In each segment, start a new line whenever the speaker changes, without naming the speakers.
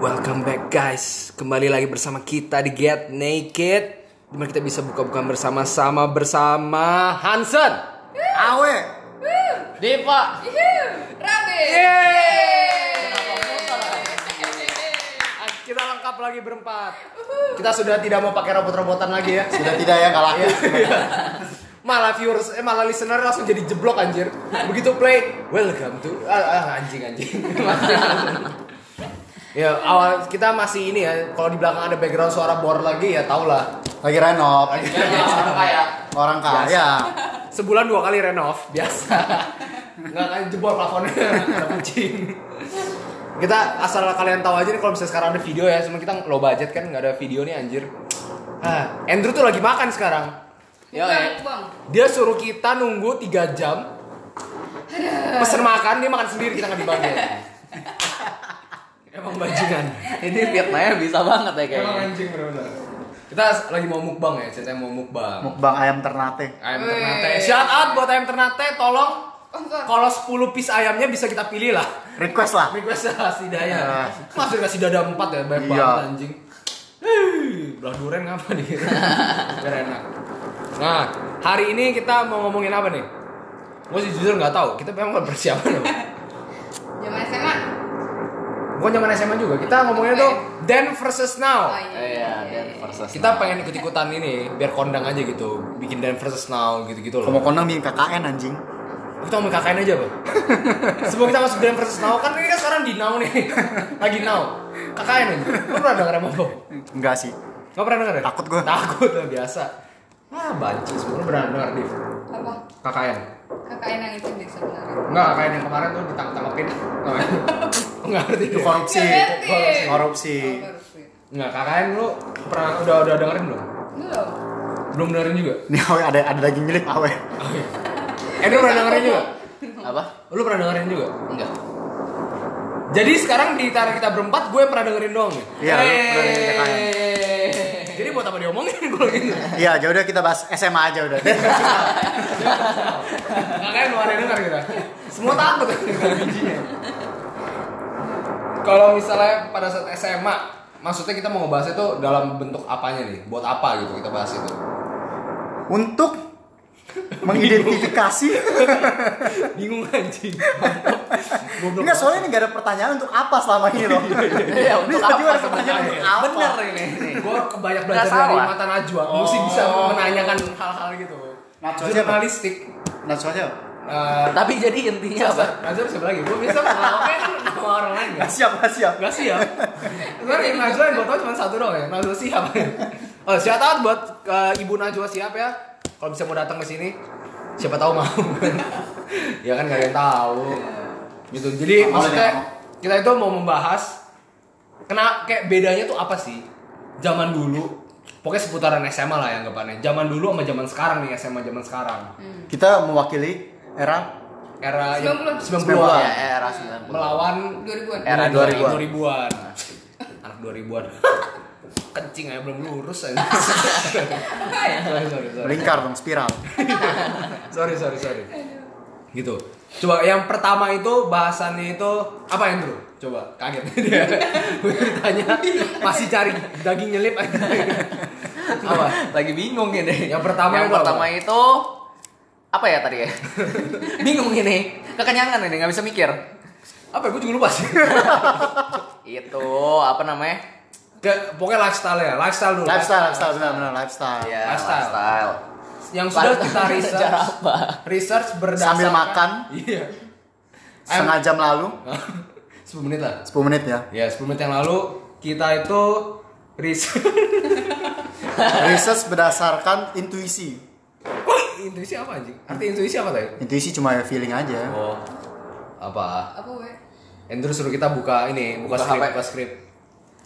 Welcome back guys, kembali lagi bersama kita di Get Naked Dimana kita bisa buka-buka bersama-sama bersama Hansen
Awe.
Diva
Rabe.
Kita lengkap lagi berempat
Kita sudah tidak mau pakai robot-robotan lagi ya. Sudah tidak ya kalah.
Iya. Malah viewers, eh malah listener langsung jadi jeblok anjir Begitu play, welcome to ah, ah, Anjing anjing Ya awal kita masih ini ya, kalau di belakang ada background suara bor lagi ya tau lah
Lagi renov. Orang
Ah, ya.
Iya,
kaya.
Sebulan dua kali renov biasa. Nggak akan jebol plafonnya ada kucing. Kita asal kalian tahu aja nih kalau misalnya sekarang ada video ya, cuma kita low budget kan nggak ada video nih anjir. Ah, Andrew tuh lagi makan sekarang. Iya,
Yo, Bang.
Dia suruh kita nunggu 3 jam. Pesen makan, dia makan sendiri kita nggak dibangun. Emang bajingan.
Ini fitnahnya bisa banget
Emang
ya kayaknya.
anjing bener-bener. Kita lagi mau mukbang ya, ceritanya mau mukbang.
Mukbang ayam ternate.
Ayam Ternate. Shout out buat Ayam Ternate, tolong
Oh,
kalau 10 piece ayamnya bisa kita pilih lah.
Request lah.
Request lah si
Nah.
Daya. Masih dikasih dada 4 ya, banyak
Iya.
banget anjing. Hei, belah duren apa nih? Biar enak. Nah, hari ini kita mau ngomongin apa nih? Gue sih jujur nggak tahu. Kita memang nggak persiapan loh.
Zaman SMA.
Gue zaman SMA juga. Kita ngomonginnya tuh then Eh, versus now.
Iya, dan versus.
Kita pengen ikut-ikutan ini biar kondang aja gitu. Bikin then versus now gitu-gitu loh.
Kamu kondang di KKN anjing.
Kita ngomongin KKN aja, Bang. Sebelum kita masuk Grand versus Now, kan ini kan sekarang di Now nih. Lagi Now. KKN aja. Lu pernah denger emang, Bang?
Enggak sih.
Nggak pernah denger ya?
Takut gua.
Takut, lah, biasa. Ah, banci semua. Lu pernah denger, Div?
Apa?
KKN?
KKN yang itu deh sebenarnya.
Enggak, KKN yang kemarin tuh ditangkap-tangkapin. Enggak ngerti
Itu
deh.
korupsi.
Ngerti.
Korupsi.
Oh, baru sih.
Enggak, KKN lu pernah udah udah dengerin belum?
Belum.
Belum dengerin juga?
Ini awe ada ada daging milik awe.
Eh, lu pernah dengerin juga?
apa?
Lu pernah dengerin juga?
Enggak.
Jadi sekarang di antara kita berempat, gue yang pernah dengerin doang nih.
Iya, lu pernah dengerin KKN.
Jadi buat apa diomongin kalau gitu?
Iya, ya udah kita bahas SMA aja udah.
Makanya lu ada dengar kita. Semua takut bijinya. Kalau misalnya pada saat SMA, maksudnya kita mau ngebahas itu dalam bentuk apanya nih? Buat apa gitu kita bahas itu?
Untuk mengidentifikasi
Bingung anjing.
enggak soalnya ini gak ada pertanyaan untuk apa selama ini loh.
Iya,
Ini
untuk
tiba-tiba
apa
ada pertanyaan
sebenarnya?
untuk apa?
Bener ini. ini.
Gue kebanyak belajar
Nggak
dari
salah.
mata Najwa. Mesti bisa menanyakan hal-hal gitu.
Oh. Najwa siapa?
Jurnalistik.
Nah, soalnya
Eh,
Tapi jadi intinya apa?
Najwa siapa lagi? Gue bisa melakukan sama orang lain
Gak siap, gak siap.
Gak siap. Sebenernya yang Najwa yang gue tau cuma satu doang ya. Najwa siap. Oh, shout out buat uh, Ibu Najwa siap ya. Kalau bisa mau datang ke sini, siapa tahu mau. ya kan gak ada yang tahu. Gitu. Jadi
Mau,
maksudnya
mau.
kita itu mau membahas kena kayak bedanya tuh apa sih? Zaman dulu Pokoknya seputaran SMA lah ya anggapannya. Zaman dulu sama zaman sekarang nih SMA zaman sekarang.
Kita mewakili era
Era yang-
90-an.
90-an.
Ya, era 90.
Melawan
2000-an.
Era
2000-an.
2000-an. Anak 2000-an. Kencing aja belum lurus aja. sorry, sorry, sorry.
melingkar dong spiral.
Sorry, sorry, sorry. Gitu. Coba yang pertama itu bahasannya itu apa Andrew? Coba kaget dia. Gue ditanya masih cari daging nyelip aja. apa?
Lagi bingung ini.
Yang pertama
yang
itu apa?
pertama itu apa ya tadi ya? bingung ini. Kekenyangan ini, nggak bisa mikir.
Apa? Gue juga lupa sih.
Itu apa namanya?
Ke, pokoknya lifestyle ya, lifestyle dulu.
Lifestyle, lifestyle benar benar lifestyle.
Ya,
Lifestyle.
lifestyle.
Yang sudah
Lifestyle
kita research,
cara apa?
research berdasarkan
Sambil makan.
Iya.
Setengah jam lalu,
10 menit lah.
10 menit ya.
Ya, 10 menit yang lalu kita itu riset
Research berdasarkan intuisi.
intuisi apa anjing? Arti intuisi apa tadi?
Intuisi cuma ya feeling aja.
Oh. Apa?
Apa we?
Andrew suruh kita buka ini, buka,
Buka
skrip,
HP.
buka skrip.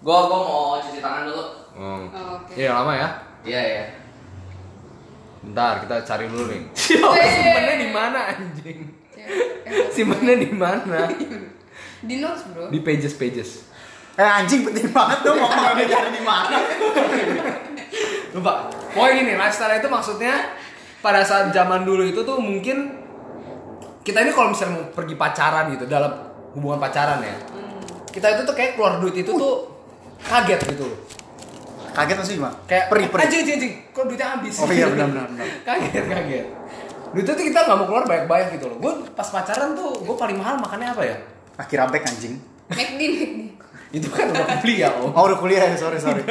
Gua gua mau cuci tangan dulu.
Hmm.
Oh, oke.
Iya, lama ya.
Iya, iya.
Bentar, kita cari dulu nih.
Wey.
simpennya di mana anjing?
Ya,
Simpennya di mana?
Di notes, Bro.
Di pages pages.
Eh anjing penting banget dong ngomong ada jalan di mana.
Lupa. Pokoknya gini, lifestyle itu maksudnya pada saat zaman dulu itu tuh mungkin kita ini kalau misalnya mau pergi pacaran gitu dalam hubungan pacaran ya. kita itu tuh kayak keluar duit itu tuh kaget gitu loh.
Kaget maksudnya gimana?
Kayak
peri peri.
Anjing anjing anjing, kok duitnya habis.
Oh iya, benar, benar, benar.
kaget kaget. Duit itu kita nggak mau keluar banyak-banyak gitu loh. Gue pas pacaran tuh gue paling mahal makannya apa ya?
Akhir abek Ah, anjing.
McD McD
Itu kan udah beli ya om.
Oh udah kuliah ya, sorry sorry.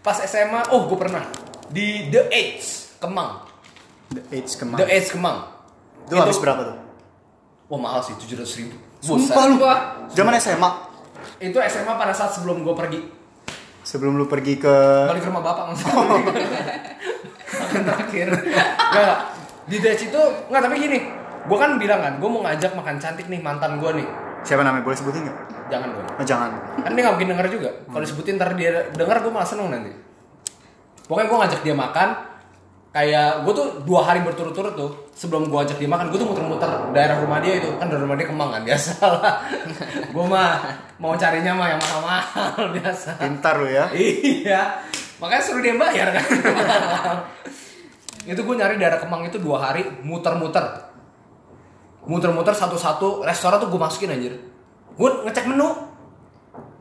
Pas SMA, oh gue pernah di The Edge Kemang.
The Age kemang.
The Edge Kemang.
Itu habis berapa tuh?
Wah mahal sih tujuh ratus ribu.
Sumpah lu.
Wah.
Zaman SMA.
Itu SMA pada saat sebelum gue pergi
Sebelum lu pergi ke
balik ke rumah bapak maksudnya. Makan terakhir. Gak. Di The Edge itu nggak tapi gini. Gue kan bilang kan, gue mau ngajak makan cantik nih mantan gue nih.
siapa namanya boleh sebutin nggak?
Jangan gue.
Oh, jangan.
Kan dia gak mungkin denger juga. Kalau disebutin ntar dia denger gue malah seneng nanti. Pokoknya gue ngajak dia makan. Kayak gue tuh dua hari berturut-turut tuh sebelum gue ajak dia makan gue tuh muter-muter daerah rumah dia itu kan dari rumah dia kemang kan biasa lah. gue mah mau carinya mah yang mahal-mahal biasa.
Pintar lu ya.
Iya. Makanya suruh dia bayar kan. itu gue nyari daerah Kemang itu dua hari muter-muter. Muter-muter satu-satu restoran tuh gue masukin anjir. Gue ngecek menu.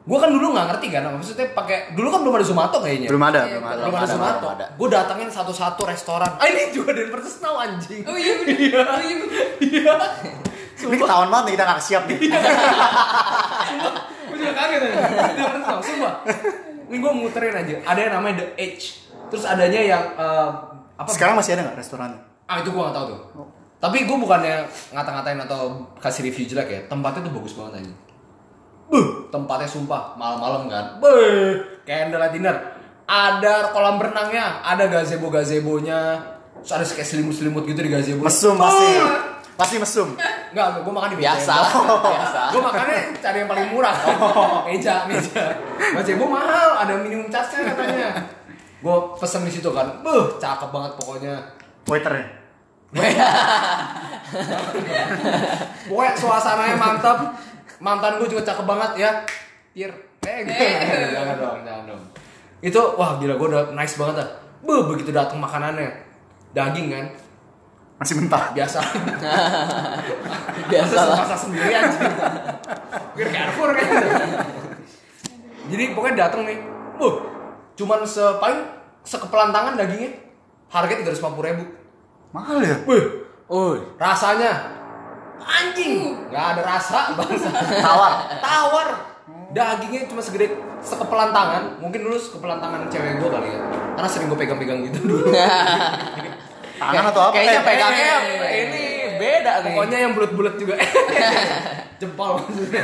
Gue kan dulu nggak ngerti kan maksudnya pakai dulu kan belum ada Zomato kayaknya.
Belum ada,
Iya,
belum ada.
Belum ada Zomato. Gue datangin satu-satu restoran. Ah ini juga dari Persesnau anjing.
oh iya bener oh iya bener
Iya.
Ini ketahuan banget nih kita nggak siap nih.
gue juga kaget aja Dia pernah tau, sumpah ini gue muterin aja ada yang namanya The Edge terus adanya yang eh, apa
Sekarang masih ada nggak restorannya?
ah itu gue gak tau tuh tapi gue bukannya ngata-ngatain atau kasih review jelek ya tempatnya tuh bagus banget aja Buh, tempatnya sumpah malam-malam kan Beuh, kayak Andela dinner ada kolam renangnya ada gazebo gazebonya terus ada kayak selimut-selimut gitu di gazebo
Mesum ya? pasti.
Oh.
Pasti mesum.
Enggak, gue makan di
Biasa lah, biasa.
Gue makannya cari yang paling murah. kan. meja, meja. Gazebo mahal, ada minimum charge-nya katanya. Gue pesen di situ kan. Beuh, cakep banget pokoknya.
Waiternya.
Pokoknya suasananya mantap. Mantan gue juga cakep banget ya. Pir. Eh, enggak. jangan dong, jangan dong. Itu wah gila gue udah nice banget dah. Beuh, begitu datang makanannya. Daging kan,
Masih mentah.
biasa.
biasa
Terus
lah
masak sendiri aja. Gue Carrefour kan. Jadi pokoknya datang nih. Buh, cuman sepaling sekepelan tangan dagingnya. Harganya 350 ribu.
Mahal ya?
Buh,
oh
rasanya anjing. Gak ada rasa bangsa.
Tawar.
Tawar. Dagingnya cuma segede sekepelan tangan. Mungkin dulu sekepelan tangan cewek gue kali ya. Karena sering gue pegang-pegang gitu dulu.
Tangan atau apa?
kayaknya
Eh,
pegangnya
eh,
ini beda nih
Pokoknya yang bulat-bulat juga. Jempol maksudnya.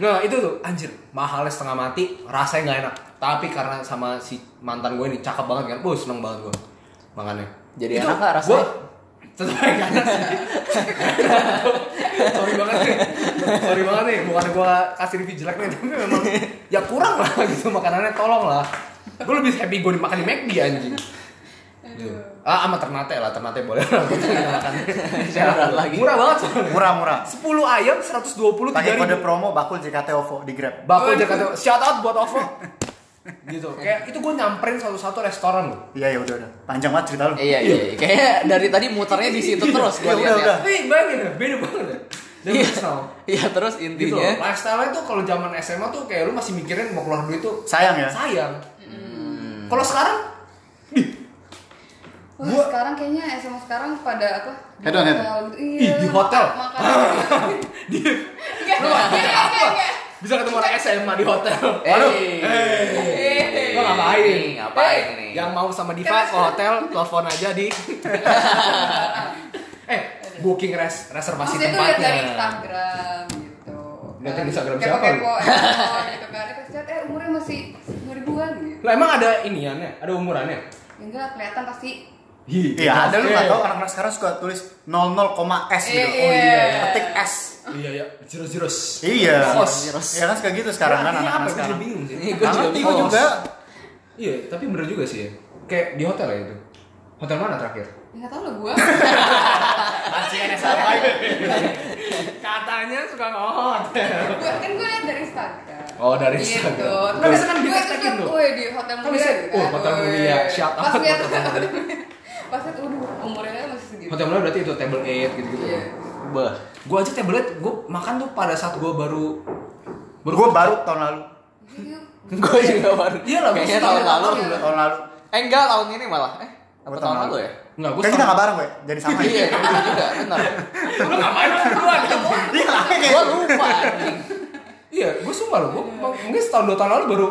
Nah itu tuh anjir mahalnya setengah mati rasanya nggak enak tapi karena sama si mantan gue ini cakep banget kan, bos seneng banget gue makannya.
Jadi enak nggak rasanya?
Gue tetep aja nggak enak sih. Sorry banget nih, sorry banget nih bukan gue kasih review jelek nih tapi memang ya kurang lah gitu makanannya tolong lah. Gue lebih happy gue dimakan di McD anjing. Gitu.
Iya.
Ah, sama ternate lah, ternate boleh lah. Gua tuh nggak makan.
Jarang lagi.
Murah banget soalnya.
Murah-murah.
10 ayam 123
Pakai kode
ribu.
promo bakul JKT OVO di Grab.
Bakul Jakarta. Shout out buat OVO. gitu. Kayak itu gue nyamperin satu-satu restoran loh.
Iya ya udah udah. Panjang banget cerita lu.
iya iya iya. kayaknya dari tadi muternya di situ terus gue
Iya,
lihat ya
udah,
Tapi bayangin ya, beda banget ya. Dan
Iya.
personal.
iya terus
Gitu loh.
intinya
Lifestyle-nya tuh kalau zaman SMA tuh kayak lu masih mikirin mau keluar duit tuh
Sayang ya.
sayang.
Hmm.
Kalau sekarang
Wah,
Gua-
sekarang kayaknya SMA sekarang pada apa? Di
Head on head.
hotel gitu.
Ih,
Iya.
di hotel.
Makan. Iya,
di
Enggak,
Lu makan apa?
enggak, enggak, enggak.
bisa ketemu anak SMA di hotel.
Aduh,
Eh.
Lo ngapain?
Ngapain
Eh,
nih?
Yang mau sama Diva ke hotel, telepon aja di. eh, booking res reservasi
Maksudnya tuh lihat dari
tempatnya.
Instagram gitu.
Lihat dari Instagram
Kepo-kepo,
siapa lu?
kepo-kepo gitu kan. Eh, pas lihat, eh umurnya masih 2000-an gitu.
Lah emang ada iniannya, ada umurannya?
Ya enggak kelihatan pasti.
Iya ada lu nggak tahu
eh.
orang-orang sekarang suka tulis 00,s gitu.
Iya, iya.
Ketik S.
Iya iya, zero zeros.
Iya.
Os.
Iya kan suka gitu sekarang kan
Artinya apa?
anak-anak
Gue
sekarang.
juga bingung sih.
Iya,
Gua
Gua juga
juga.
bingung.
juga.
Iya, tapi bener juga sih ya. Kayak di hotel ya itu. Hotel mana terakhir?
Ya enggak tahu lah gua.
Masih sama Katanya suka ngehot.
Gua kan gua lihat dari Instagram.
Oh, dari
Gitu.
Instagram.
Terus
Kan bisa kan di
gua
tag-in
lihat,
tuh.
wih, di hotel
Kan
mulia.
bisa-
gitu
oh,
kan.
hotel
Wih.
mulia. Shout out
Pas
buat
lihat
hotel mulia.
Pas lihat waduh umurnya masih segitu.
Hotel mana berarti itu table 8 gitu-gitu.
Iya.
bah
Gue aja table 8, gue makan tuh pada saat gue baru
Gue baru tahun lalu.
Gue juga baru.
Iya lah, gua
Kayaknya
sih.
tahun lalu.
Iya.
juga.
Tahun lalu.
Eh enggak tahun ini malah. Eh apa
Gua
tahun
tahun
lalu ya?
Enggak, gue
Kan kita nggak bareng, gue. Jadi sama.
Iya, itu juga benar.
Lu ngapain lu berdua?
Iya, kayak
Gua lupa anjing.
Iya, gue sumpah lo, gue mungkin setahun dua tahun lalu baru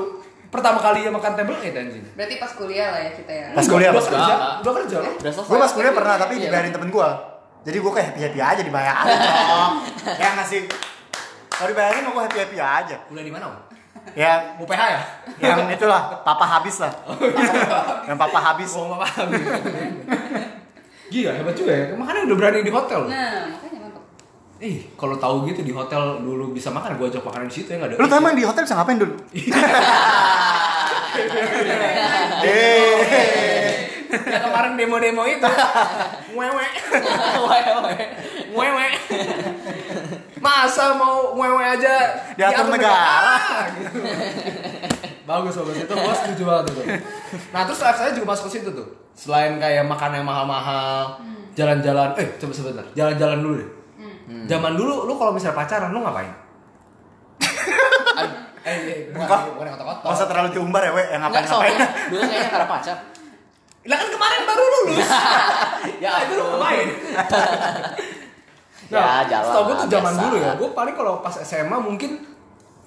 pertama kali ya makan table eight anjing.
Berarti pas kuliah lah ya kita ya.
Pas kuliah,
udah
pas
kerja,
kuliah.
udah kerja lo.
Udah selesai.
Gue pas kuliah pernah tapi
Iya.
dibayarin temen gue. Jadi gue kayak happy happy aja dibayarin. Cok. ya ngasih. Kalau dibayarin gue happy happy aja.
Kuliah di mana? Om?
Ya
UPH ya?
yang itulah papa habis lah. yang papa habis.
Gua nggak paham. Gila hebat juga ya. Makanya udah berani di hotel. lo.
Nah, makanya mantap.
Ih, kalau tahu gitu di hotel dulu bisa makan, gue ajak makanan di situ ya nggak ada.
Lu tau emang di hotel bisa ngapain dulu? Eh,
Ya kemarin demo-demo itu. Wewe.
Wewe.
Wewe. Masa mau wewe aja
Diatur
gitu. bagus bagus itu bos setuju banget itu. Nah terus life saya juga masuk ke situ tuh. Selain kayak makan yang mahal-mahal,
Hmm.
jalan-jalan, eh coba sebentar, jalan-jalan dulu deh. Zaman dulu lu kalau misalnya pacaran lu ngapain?
Aduh,
Eh, eh bukan,
Bukan.
bukan yang kotak-kotak.
Masa terlalu diumbar ya, we, yang
Enggak
ngapain-ngapain.
soalnya dulu kayaknya karena pacar.
Lah kan kemarin baru lulus.
Ya
Nah, itu lu
ampun.
ngapain?
Ya, jalan
Nah, Setahu gue tuh
lah,
zaman
biasa.
dulu ya. Gue paling kalau pas SMA mungkin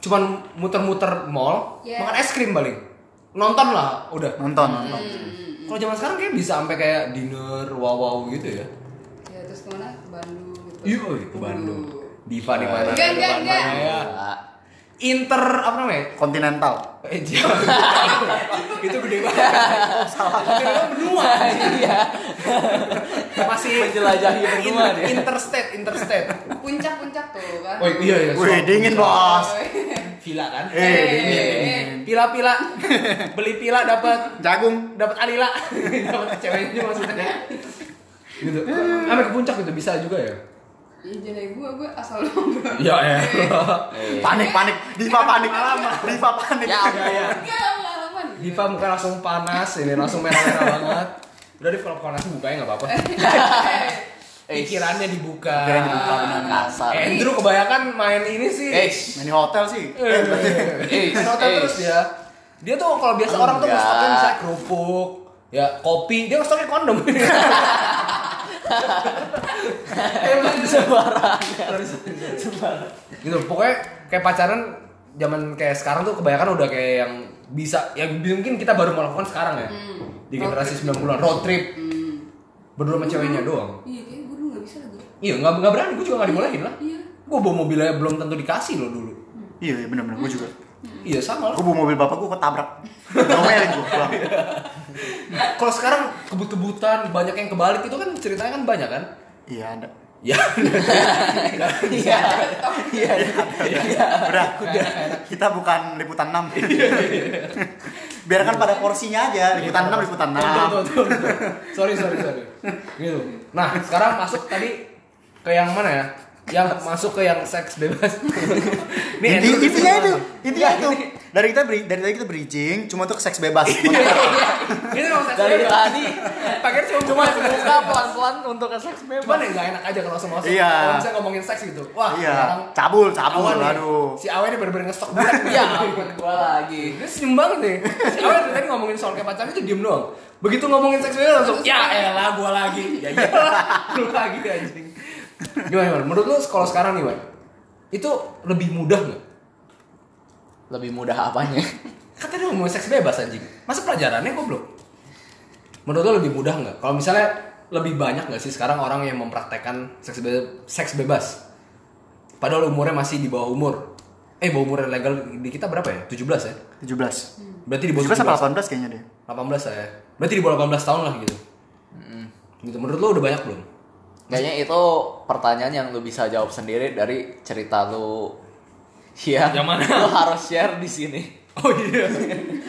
cuman muter-muter mall,
Yes.
makan es krim paling. Nonton lah, udah.
Hmm,
Nonton,
Hmm.
nonton.
Kalau zaman sekarang kayak bisa sampai kayak dinner wow wow gitu ya.
Ya terus kemana? Ke Bandung gitu.
Iya, ke Bandung. Diva di mana?
Enggak, enggak,
Bandung
enggak.
ya.
Iya.
Inter apa namanya?
Continental.
Eh, jangan. itu gede banget. Oh, salah. Itu benua.
Iya.
Masih
Menjelajahi benua
Inter-
dia.
interstate, interstate.
Puncak-puncak tuh kan.
Oh iya iya.
Wih, dingin bos.
Villa kan?
Eh,
Eh.
dingin.
Pila-pila. Beli pila dapat
Jagung.
dapat Alila. dapat ceweknya maksudnya. Gitu. Sampai ke puncak gitu bisa juga ya.
Jadi gue gue asal lomba.
Iya ya.
Panik, panik. Diva panik. Diva panik.
Ya ampun.
Enggak Iya, pengalaman.
Diva muka langsung panas ini langsung merah-merah banget. Udah deh kalau panas bukanya nggak apa-apa.
Eh,
Pikirannya dibuka.
Pikirannya dibuka,
benar. Kasar.
Andrew kebanyakan main ini sih.
Eh.
Main di hotel sih.
Iya,
Eh,
Eh,
main hotel
eh.
terus dia. Dia tuh kalau biasa orang tuh
Enggak.
ngestoknya misalnya kerupuk, ya kopi, dia ngestoknya kondom. Emang
Sembarang.
gitu pokoknya kayak pacaran zaman kayak sekarang tuh kebanyakan udah kayak yang bisa ya mungkin kita baru melakukan sekarang ya di
Hmm. Road
generasi
trip.
90-an road trip
Hmm.
berdua sama ceweknya doang
Iya, kayaknya gue dulu gak bisa lagi.
iya nggak nggak berani gue juga nggak dibolehin lah
Iya.
gue bawa mobil aja belum tentu dikasih lo dulu
Iya, iya, bener-bener. Gue juga.
Hmm.
iya sama lah
Gue bawa mobil bapak gue ketabrak. Ngomel gue pulang.
kalau sekarang kebut-kebutan banyak yang kebalik itu kan ceritanya kan banyak kan
Iya, ada.
ya
Iya. Iya.
Udah, kita bukan liputan 6. Biarkan pada porsinya aja. Liputan 6, liputan
Tuh, tuh,
6.
tuh, tuh. sorry sorry sorry gitu nah sekarang masuk tadi ke yang mana ya yang masuk ke yang seks bebas Nih,
Inti,
Andrew
intinya itu,
gimana?
intinya
Iya,
itu. Dari kita beri, dari tadi kita bridging, cuma tuh ke seks bebas.
Iya. ini dong seks
Dari
bebas
tadi
pakai cuma cuma
cuma dibuka pelan-pelan untuk ke seks
cuman
bebas.
Iya. ya nggak enak aja kalau langsung masuk
Iya.
kalau misalnya ngomongin seks gitu wah sekarang
iya, cabul, cabul,
awan ya. nih.
aduh. Iya.
si awen ini bener-bener ngestok banget Iya.
Ya ampun gua lagi.
Dia senyum banget nih. Si Awel dari tadi ngomongin soal kayak pacarnya tuh diem doang. Begitu ngomongin seks bebas langsung, ya elah gua lagi. Ya iyalah, lu lagi anjing. Gimana, gimana? Menurut lu kalau sekarang nih, Wan, itu lebih mudah nggak?
Lebih mudah apanya?
Katanya dia Kan ngomongin seks bebas anjing. Masa pelajarannya goblok? Menurut lu lebih mudah nggak? Kalau misalnya lebih banyak nggak sih sekarang orang yang mempraktekkan seks bebas, seks bebas? Padahal umurnya masih di bawah umur. Eh, bawah umur legal di kita berapa ya? 17 ya?
17.
Berarti di bawah
17 apa 18 kayaknya deh.
18 lah ya. Berarti di bawah 18 tahun lah gitu. Gitu menurut lo udah banyak belum?
Kayaknya itu pertanyaan yang lu bisa jawab sendiri dari cerita lu. Iya.
Yang mana?
Lu harus share di sini.
Oh iya.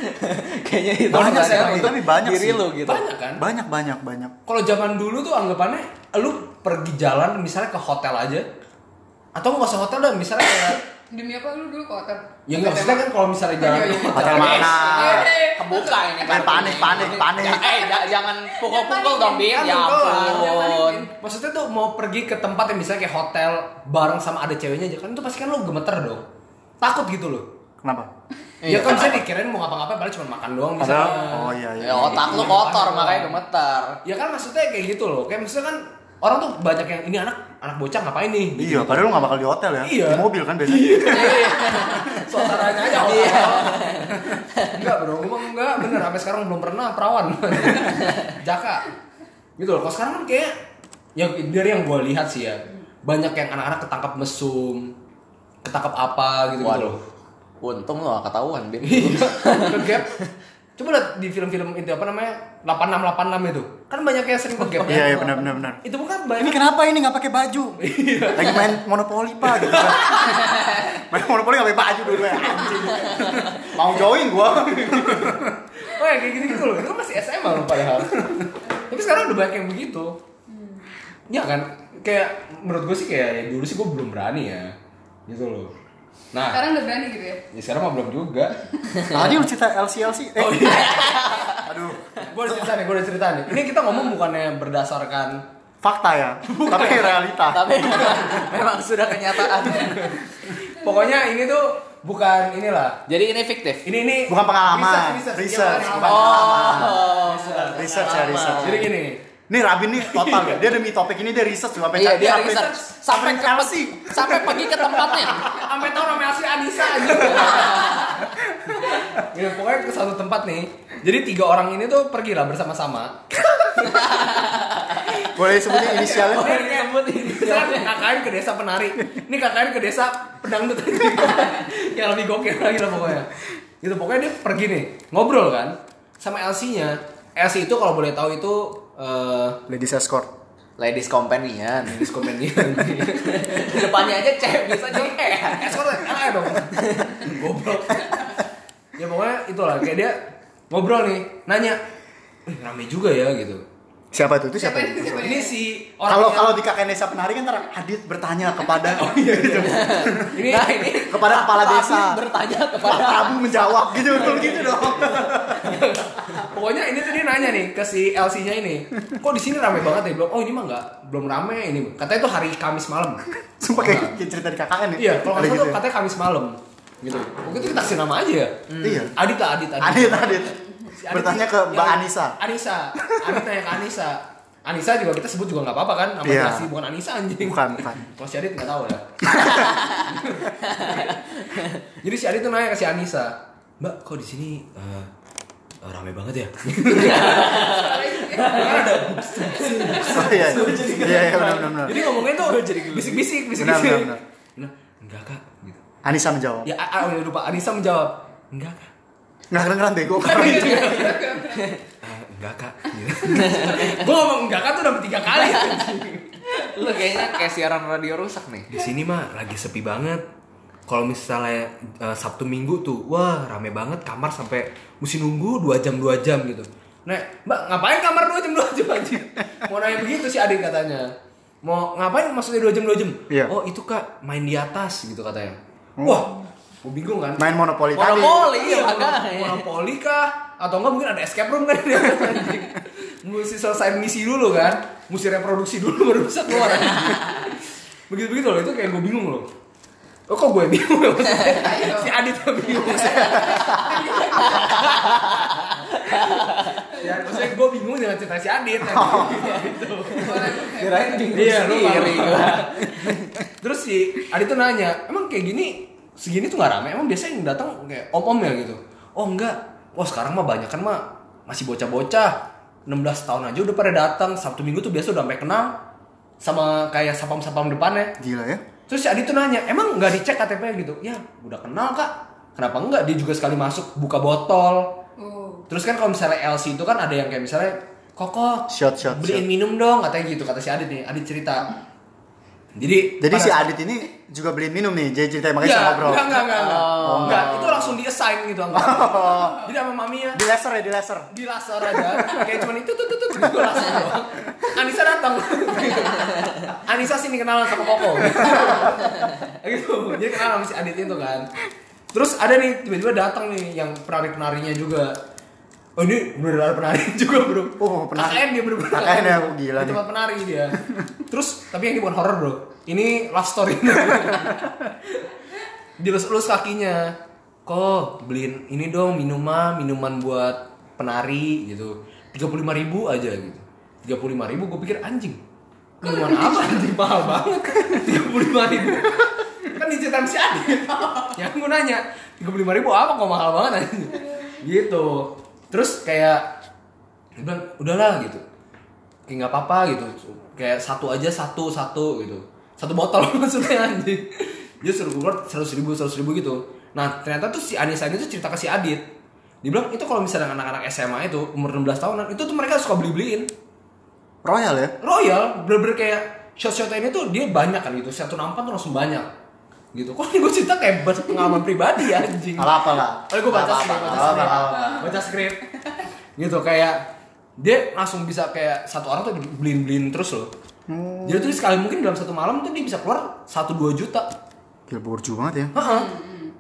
Kayaknya itu
Banyak sih,
pertanyaan
tapi-
untuk
tapi banyak
diri
sih.
lu gitu.
Banyak kan?
Banyak, banyak, banyak.
Kalau zaman dulu tuh anggapannya lu pergi jalan misalnya ke hotel aja atau nggak usah hotel dah misalnya kayak
Demi apa lu dulu Iya. ke hotel?
ya nggak maksudnya kan kalau misalnya jalan ya,
Iya, iya.
Hotel
jalan-
mana?
Kebuka
Main
ini
Eh, panik, panik, panik.
Ya, eh, ja- jangan pukul-pukul dong, Bin.
Kan
Ya
betul lah.
ampun.
Maksudnya tuh mau pergi ke tempat yang misalnya kayak hotel bareng sama ada ceweknya aja kan itu pasti kan lu gemeter dong. Takut gitu loh.
Kenapa?
Ya kan saya dikirain mau ngapa-ngapain padahal cuma makan doang
Padahal
misalnya.
oh iya iya.
Ya otak lu kotor
Iya.
makanya gemeter.
Ya kan maksudnya kayak gitu loh. Kayak maksudnya kan orang tuh banyak yang ini anak anak bocah ngapain nih? Gitu.
Iya, padahal lu gak bakal di hotel ya.
Iya.
Di mobil kan biasanya.
Suasananya aja orang.
Iya.
enggak bro, gue mah enggak bener. Sampai sekarang belum pernah perawan. Jaka. Gitu loh. Kalau sekarang kan kayak ya dari yang gue lihat sih ya banyak yang anak-anak ketangkap mesum, ketangkap apa gitu gitu
Waduh.
loh.
Untung lo gak ketahuan, Bin.
Iya, ngegap. Coba lihat di film-film itu apa namanya 8686 itu. Kan banyak yang sering ngegap
Iya,
ya.
iya benar benar benar.
Itu bukan
Ini
banyak
kenapa ini nggak pakai baju? Lagi main monopoli pak. Gitu. kan. main monopoli nggak pakai baju dulu ya. anjing. Mau join gua.
Oh ya kayak gitu-gitu loh. Itu masih SMA loh padahal. Tapi sekarang udah banyak yang begitu.
Hmm.
Ya kan? Kayak menurut gue sih kayak ya dulu sih gue belum berani ya. Gitu loh. Nah,
Sekarang udah berani gitu ya?
ya sekarang mah belum juga.
Tadi lu cerita LCLC. Eh,
Oh iya.
aduh.
gue udah cerita nih, gue udah cerita nih. Ini kita ngomong bukannya berdasarkan
Fakta ya, tapi realita.
Tapi memang sudah kenyataan.
Pokoknya ini tuh bukan inilah.
Jadi ini fiktif.
Ini ini
Bukan pengalaman,
Research, research.
research,
Iya,
bukan
pengalaman.
Oh.
Research ya research.
Jadi gini,
Nih Rabin nih total ya. Dia demi topik ini dia research juga sampai
Iya,
sampai-
dia
sampai-
research sampai ke
LC.
sampai pergi ke tempatnya.
sampai tau namanya asli Anissa aja. Gitu, pokoknya ke satu tempat nih. Jadi tiga orang ini tuh pergilah bersama-sama.
Boleh sebutin inisialnya.
Oh, Kan
Boleh
iya.
disebut ini.
Misalnya kakaknya ke desa penari. Ini kakaknya ke desa pedangdut. Yang Ya, lebih gokil lagi lah pokoknya. Gitu pokoknya dia pergi nih, ngobrol kan sama LC-nya. LC itu kalau boleh tahu itu eh
Ladies escort.
Ladies companion.
Miss Companion.
Depannya aja cewek bisa jadi
Eh,
kayak.
Escort LA dong. Goblok. Ya pokoknya itulah kayak dia ngobrol nih, nanya. "Wih, rame juga ya gitu.
Siapa itu? Itu siapa?
Siapa
itu?
itu? Siapa
Ini si orang yang-
Kalau
Oh, iya.
kalau di kakek desa penari kan ntar Hadit bertanya kepada
ini
Nah, ini
kepada kepala
Pak
desa.
Habib bertanya
Pak
kepada
Prabu menjawab gitu betul
Oh, iya,
gitu dong.
Pokoknya ini tuh dia nanya nih ke si LC-nya ini. Kok di sini rame banget ya? Belum. Oh, ini mah enggak belum rame ini. Katanya itu hari Kamis malam.
Sumpah kayak kayak cerita di KKN ya.
Iya, kalau
Ada
nggak salah tuh
ya.
katanya Kamis malam. Gitu. Oke, itu kita kasih nama aja ya.
Iya.
Adit lah, Adit, Adit.
Adit Adit
Si Adit
bertanya
ini-
ke Mbak
yang-
Anissa.
Anissa. Adit nanya ke Anissa. Anissa juga kita sebut juga nggak apa-apa kan? Nama
Iya.
Anissa, bukan Anissa anjing.
Bukan bukan.
Kalau si Adit nggak tahu ya. lah. Jadi si Adit tuh nanya ke si Anissa, Mbak, kok di sini eh, eh, rame banget ya?
Iya.
Karena ada
Oh iya. Iya iya benar benar. benar.
Jadi ngomongnya tuh bisik-bisik,
Benar benar
bisik-bisik.
benar.
Nah, enggak kak. Gitu.
Anissa menjawab.
Ya, ah, ah, udah lupa. Anissa menjawab, enggak kak.
Nggak kedengeran bego.
Iya, "Ah, enggak kak. Gitu. Gue ngomong enggak kak tuh udah tiga kali.
lu kayaknya kayak siaran radio rusak nih.
Di sini mah lagi sepi banget. Kalau misalnya eh, Sabtu Minggu tuh, wah rame banget kamar sampai mesti nunggu 2 jam 2 jam gitu. Nah, Mbak, ngapain kamar 2 jam 2 jam anjing? Mau nanya begitu si Adit katanya. Mau ngapain maksudnya 2 jam 2 jam?
Iya.
Oh, itu Kak, main di atas gitu katanya.
Hmm.
Wah, gue bingung kan.
Main monopoli tadi.
Monopoli
Iya,
iya
monopoli,
makanya.
monopoli kah? Atau enggak mungkin ada escape room kan? Anjing. mesti selesai misi dulu kan? Mesti reproduksi dulu baru bisa keluar. Begitu begitu loh itu kayak gue bingung loh. Oh, kok gue bingung ya maksudnya? si Adit yang bingung ya, maksudnya gue bingung dengan cerita si Adit gitu.
Oh. Kirain bingung
Iya, lu
sendiri
malu.
gua.
Terus si Adi tuh nanya, emang kayak gini segini tuh nggak rame? Emang biasanya yang datang kayak om-om ya gitu? Oh enggak, wah sekarang mah banyak kan mah masih bocah-bocah 16 tahun aja udah pada datang Sabtu Minggu tuh biasa udah sampai kenal sama kayak sapam-sapam depannya.
Gila ya.
Terus si Adi tuh nanya, emang nggak dicek KTP-nya gitu? Ya udah kenal kak, kenapa enggak? Dia juga sekali masuk buka botol.
Oh.
Terus kan kalau misalnya LC itu kan ada yang kayak misalnya Koko
Shot, shot,
beliin minum dong katanya gitu kata si Adit nih Adit cerita jadi
Jadi
pada-
si Adit ini juga beliin minum nih. Jadi cerita makanya
Iya,
sama bro.
enggak, enggak, enggak, enggak.
Oh.
Enggak, itu langsung di assign gitu enggak.
Oh.
Jadi sama maminya
Di laser ya di laser.
di laser aja kayak cuman itu tuh tuh tuh gitu laser doang. Anissa datang Anissa sini kenalan sama Koko gitu jadi kenalan sama si Adit itu kan terus ada nih tiba-tiba datang nih yang penari penarinya juga oh ini bener-bener ada penari juga bro
Oh, penari.
KKN dia bener-bener
KKN ya, oh, gila
Di
nih.
tempat penari dia terus tapi yang ini bukan horror bro ini love story dilus-lus kakinya kok beliin ini dong minuman minuman buat penari gitu 35.000 ribu aja gitu 35.000 ribu gue pikir anjing minuman apa anjing mahal banget 35.000 ribu kan dicetan si Adit yang gue Ya, nanya 35.000 ribu apa kok mahal banget anjing gitu terus kayak dia bilang udahlah gitu kayak nggak apa-apa gitu kayak satu aja satu satu gitu satu botol maksudnya anjing dia suruh keluar seratus ribu seratus ribu gitu nah ternyata tuh si Anissa ini tuh cerita ke si Adit dia bilang itu kalau misalnya anak-anak SMA itu umur 16 tahunan itu tuh mereka suka beli-beliin
Royal ya?
Royal bener-bener kayak shot-shot ini tuh dia banyak kan gitu satu nampan tuh langsung banyak gitu kok gue cerita kayak ber- pengalaman pribadi ya anjing
Alah apa lah?
Oh, gue baca
Alah,
skrip,
apa,
baca
alah,
skrip,
alah, alah.
baca skrip. gitu kayak dia langsung bisa kayak satu orang tuh beliin beliin terus loh. Jadi tuh sekali mungkin dalam satu malam tuh dia bisa keluar satu dua juta.
Gila borju banget ya.
Heeh.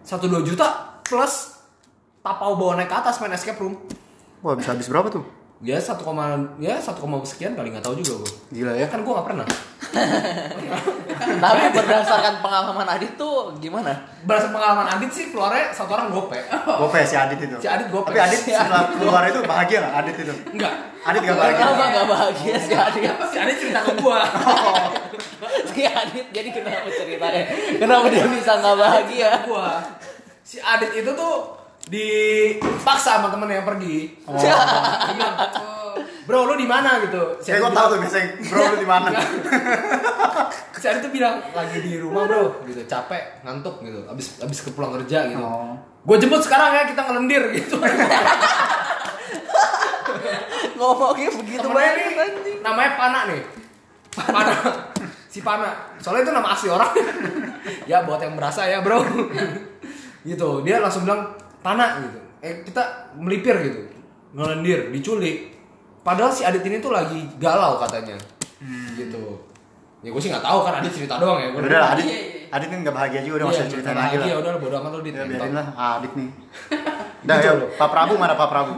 Satu dua juta plus tapau bawa naik ke atas main escape room.
Wah bisa habis berapa tuh?
Dia satu koma ya satu koma sekian kali nggak tahu juga gue.
Gila ya.
Kan gue nggak pernah.
Tapi berdasarkan pengalaman Adit tuh gimana?
Berdasarkan pengalaman Adit sih keluarnya satu orang gope.
Gope si ya, Adit itu.
Si Adit gope.
Tapi Adit
Si
setelah keluar itu bahagia nggak Adit itu?
Enggak.
Adit gak bahagia.
Kenapa gak bahagia si Adit?
Si Adit cerita ke gue.
Si Adit jadi kenapa ceritanya? Kenapa dia bisa gak
ya?
bahagia?
gua si Adit itu tuh dipaksa sama temen yang pergi
Oh.
Dia bilang, bro lu di mana gitu si
Kayak gue
Adit,
Eh, tahu tuh biasanya bro lu di mana.
si Adit tuh bilang lagi di rumah bro gitu capek ngantuk gitu abis abis ke pulang kerja gitu
Oh.
gue jemput sekarang ya kita ngelendir gitu
Ngomongnya begitu
temennya
banget
nih
anjing.
namanya Pana nih Pana si Pana soalnya itu nama asli orang ya buat yang berasa ya bro gitu dia langsung bilang Pana gitu eh kita melipir gitu ngelendir diculik padahal si Adit ini tuh lagi galau katanya gitu ya gue sih nggak tahu kan Adit cerita doang ya gue
Udah lah Adit.
Iya, iya.
Adit kan gak bahagia juga udah
Iya,
usah cerita lagi
ya
lah.
udah bodo amat lu Dit.
Ya
Mentok.
biarin lah Adit nih. Udah
Gitu
ya,
loh.
Pak Prabu mana Pak Prabu?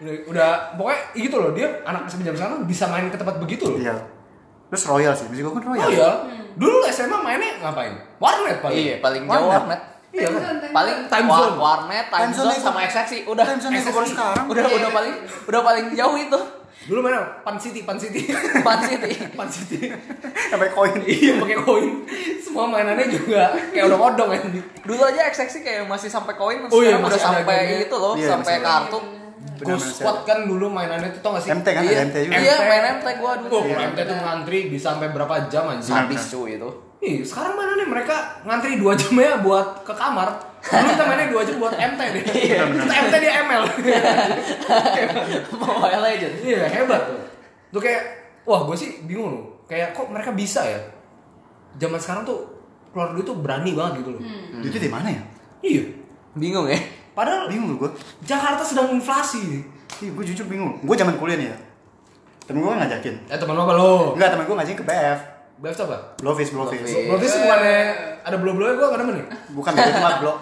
udah, udah pokoknya gitu loh dia anak semenjak sekarang bisa main ke tempat begitu loh
Iya. Terus Royal sih, mesti gue kan Royal.
Oh iya. Dulu SMA mainnya ngapain? Warnet paling.
Iya, paling jauh
Warnet.
warnet.
Iya
Eh,
kan?
Paling
Time
wa-
zone.
warnet, time,
Time zone
zone,
yang-
sama ekseksi udah.
Time zone yang gue baru
Ekseksi.
sekarang.
Udah
Iya.
udah paling udah paling jauh itu.
Dulu mainnya Pan City, Pan City.
Pan City.
Pan City.
Sampai koin.
iya pakai koin. Semua mainannya juga kayak ya. odong-odong anjing.
Dulu aja ekseksi kayak masih sampai koin,
Oh iya,
sekarang udah
masih ada
sampai
gamenya.
itu loh,
Iya,
sampai
masih ada.
kartu.
Go squad kan dulu mainannya tuh tau gak sih?
MT kan ada MT juga.
Iya,
MT.
main MT gua
Tuh,
dulu.
kalau
Iya.
MT tuh ngantri bisa sampai berapa jam anjing.
Sampai.
Habis cuy itu.
Ih, sekarang mainannya mereka ngantri 2 jam ya buat ke kamar. Dulu kita mainnya 2 jam buat MT deh. Kita MT dia ML.
Mobile Legends.
Iya hebat tuh. Tuh kayak wah gue sih bingung loh. Kayak kok mereka bisa ya? Zaman sekarang tuh keluar duit tuh berani banget gitu loh.
Itu di mana ya?
Iya.
Bingung ya?
Padahal
Bingung gue.
Jakarta sedang inflasi.
Iya, gue jujur bingung. Gue zaman kuliah nih ya. Temen gue ngajakin.
Eh teman lo apa lo?
Enggak, temen gue ngajakin ke BF.
BF tuh apa?
Blowfish, blowfish.
Blowfish.
Berarti sih bukannya ada blow-blownya gue gak demen nih.
Bukan dari tempat blok.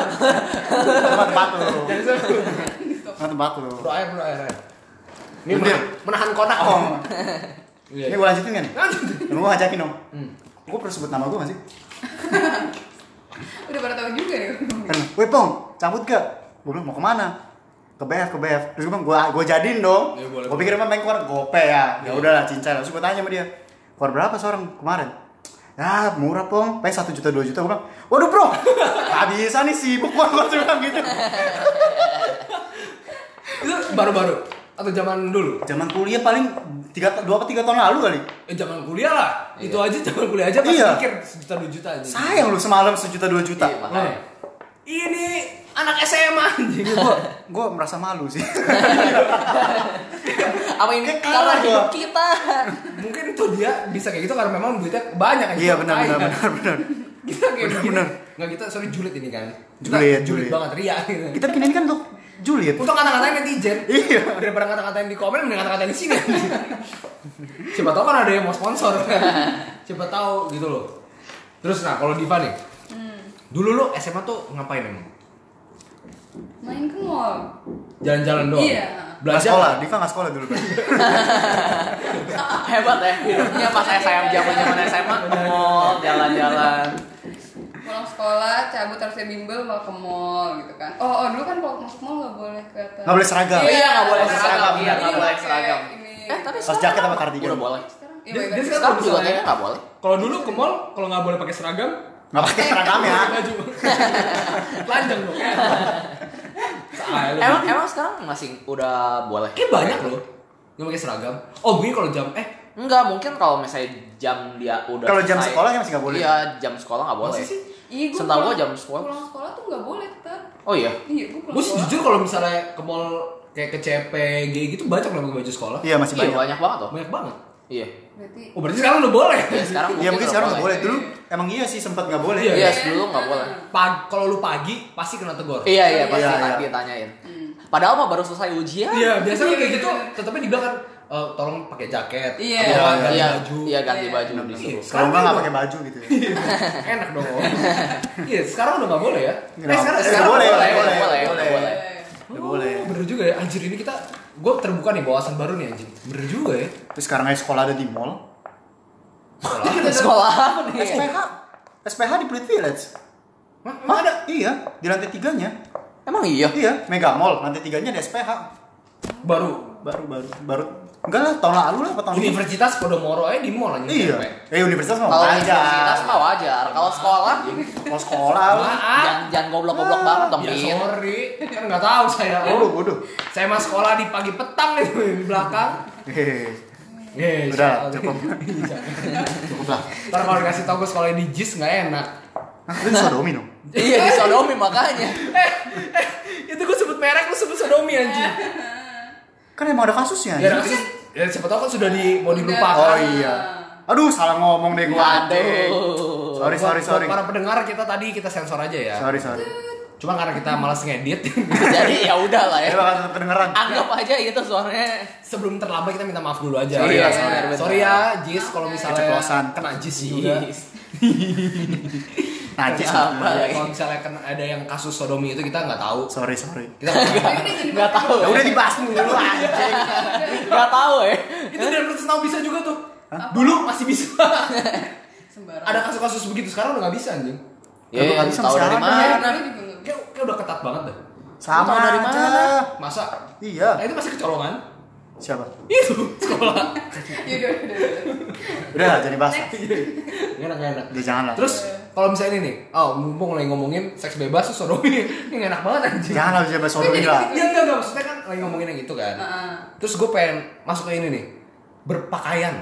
tempat batu.
Jadi saya
Tempat batu.
bro air bro air. air. Ini
Udah.
menahan, menahan konak.
Oh, ini
Iya.
gue lanjutin kan?
Lanjut.
Temen gue ngajakin dong.
Hmm.
Gue perlu sebut nama gue masih.
Udah pada tahu juga ya.
Hmm.
Kan, weh pong, cabut gak? Gue bilang mau kemana? Ke BF, ke BF. Terus gue bilang, gue gue jadiin dong.
Iya, boleh. Iya.
gue pikir emang main keluar gope ya. Ya udahlah, cincai. Terus gue tanya sama dia, keluar berapa seorang kemarin? Ya murah pong, paling satu juta dua juta gue bilang, waduh bro, gak bisa nih sibuk gue gue bilang gitu.
Itu baru-baru atau zaman dulu?
Zaman kuliah paling tiga dua apa tiga tahun lalu kali.
Eh zaman kuliah lah. Itu aja zaman kuliah aja pasti
Iya.
mikir sejuta dua juta aja.
Sayang lu semalam sejuta dua juta.
Iya, makanya.
Nah, ini anak SMA anjing.
Gue gue merasa malu sih.
Apa ini
Kayak
karena
kalah gua.
hidup kita?
Mungkin tuh dia bisa kayak gitu karena memang duitnya banyak aja.
Iya benar benar
Kaya.
benar benar.
Kita kayak
Benar,
begini.
benar.
Nggak kita sorry julid ini kan. Kita
Julid,
julid
julid.
banget ria gitu.
Kita bikin ini kan untuk Juliet.
Untuk kata-katain netizen.
Iya.
Daripada kata-katain di komen mending kata-katain di sini. anjing. Siapa tahu kan ada yang mau sponsor. Siapa tahu gitu loh. Terus nah kalau Diva nih.
Hmm.
Dulu lu SMA tuh ngapain emang?
Main ke mall.
Jalan-jalan doang.
Iya.
Nggak
Belajar.
sekolah, Diva nggak sekolah dulu. berarti.
Hebat ya hidupnya pas SMA zaman zaman SMA ke mall jalan-jalan.
cabut harusnya bimbel malah ke mall gitu kan oh, oh dulu kan kalau masuk mall nggak boleh kelihatan
Nggak boleh seragam.
Iya, nggak boleh seragam. Iya,
Jadi
nggak boleh
pakai
seragam.
ini.
Eh tapi
Harus
sekarang
jaket sama
apa?
cardigan.
Udah boleh.
sekarang iya,
Dia-
baik-baik.
dia
Sekarang juga
misalnya-
kayaknya nggak boleh.
Kalau dulu ke mall kalau nggak boleh pakai seragam,
nggak pakai seragam ya
pakai baju. Telanjang dong. ya. Salah lu.
Emang emang sekarang masih udah boleh.
Kayak banyak loh yang pakai seragam. Oh mungkin kalau jam eh
Enggak, mungkin kalau misalnya jam dia udah
Kalau jam
selesai-
sekolah ya masih nggak boleh.
Iya, jam sekolah nggak boleh.
Masa sih?
Iya, gua
Setahu gua
pulang-
jam sekolah.
Pulang sekolah tuh nggak boleh tetap.
Oh iya.
Iya, gue pulang
gue sih jujur kalau misalnya ke mall kayak ke CPG gitu banyak loh pakai baju sekolah.
iya masih
Iya,
banyak
banyak banget loh.
Banyak banget.
Iya.
Berarti
Oh berarti sekarang udah boleh.
Iya, sekarang
Iya mungkin
udah
sekarang nggak boleh
boleh.
dulu emang iya sih sempat nggak boleh
Iya.
Iya, dulu nggak boleh.
Pag kalau lu pagi pasti kena tegur.
Iya, iya, pasti
Iya, iya.
tadi tanyain. Padahal mah baru selesai ujian.
Iya, biasanya
Iya,
kayak
iya,
gitu
iya.
tetapnya dibilang kan "Eh, tolong pakai jaket, atau
Iya.
Iya,
ganti
Iya,
baju.
iya ganti
Iya.
baju
Bener-bener.
disuruh.
kalau nggak nggak pakai baju gitu ya.
Enak dong. Iya, sekarang udah nggak boleh ya.
Nggak- eh, boleh
boleh,
boleh
boleh,
boleh
Eh.
boleh.
Nggak boleh
Oh, bener juga ya, anjir ini kita gue terbuka nih bawasan baru nih anjing. Bener juga ya.
terus sekarang aja sekolah ada di mall
Sekolah apa nih?
SPH SPH di Pluit Village
Hah?
Iya. Hah? ada iya di lantai tiganya
Emang iya.
iya Mega Mall lantai tiganya ada SPH
Baru
baru baru baru enggak lah tahun lalu lah apa tahun ini
Universitas Podomoro aja di mall anjing.
iya
CP.
eh universitas mau
Kalau
aja
universitas mah wajar. Iya, Kalau sekolah
mau sekolah lu
Maaf.
jangan jangan goblok-goblok banget dong,
Ya
Bin.
sorry, kan nggak tahu saya.
bodoh bodoh
Saya mah sekolah di pagi petang itu di belakang.
hehehe
Iya,
Udah,
soalnya.
cukup.
Iya.
cukup lah
Ntar kalau dikasih tau gue sekolah di JIS nggak enak.
Hah, lu sodomi dong
Iya, disodomi makanya.
Itu gue sebut merek, lu sebut sodomi anjing.
kan emang ada kasusnya
Ya,
anjing.
nanti, ya siapa tahu kan sudah di, mau
Udah.
dilupakan.
oh iya aduh salah ngomong deh gua
Waduh.
Buat-
sorry sorry
buat
sorry
Para pendengar kita tadi kita sensor aja ya.
sorry sorry
Cuma karena kita malas ngedit.
Jadi ya udah lah
ya
ya.
bakal tetap kedengeran
Anggap aja itu suaranya.
Sebelum terlambat kita minta maaf dulu aja.
Sorry
Iya.
ya, sorry.
Sorry ya, Jis kalau misalnya
Keceplosan.
kena Jis juga.
najis
Apa?
Iya, kalau misalnya kena, ada yang kasus sodomi itu kita nggak tahu.
sorry sorry
Kita nggak tahu.
Tapi udah jadi
Nggak
bahan.
tahu.
ya udah dibahas mulu anjing
Gak tahu ya.
itu dari Rutus tahu bisa juga tuh. Dulu masih bisa.
Sembarang. Iya,
ada kasus-kasus begitu sekarang udah nggak bisa anjing.
Ya,
Kalau nggak bisa,
tahu
mesti
dari
Dari
ada.
dulu
mana?
juga nggak
Kayak, kayak udah ketat banget dah.
sama
Lu tahu dari
aja.
mana?
Masa?
iya
Nah, itu masih kecolongan.
siapa
Itu sekolah.
Ya udah, udah, udah.
udah lah jadi bahas lah.
Gak enak, gak enak.
udah jangan lah
Terus kalau misalnya ini nih, oh mumpung lagi ngomongin seks bebas terus sodomi, ini gak enak banget anjing.
jangan lah bahas sodomi lah
Iya enggak enggak maksudnya kan lagi ngomongin yang itu kan.
Heeh.
Terus gue pengen masuk ke ini nih, berpakaian.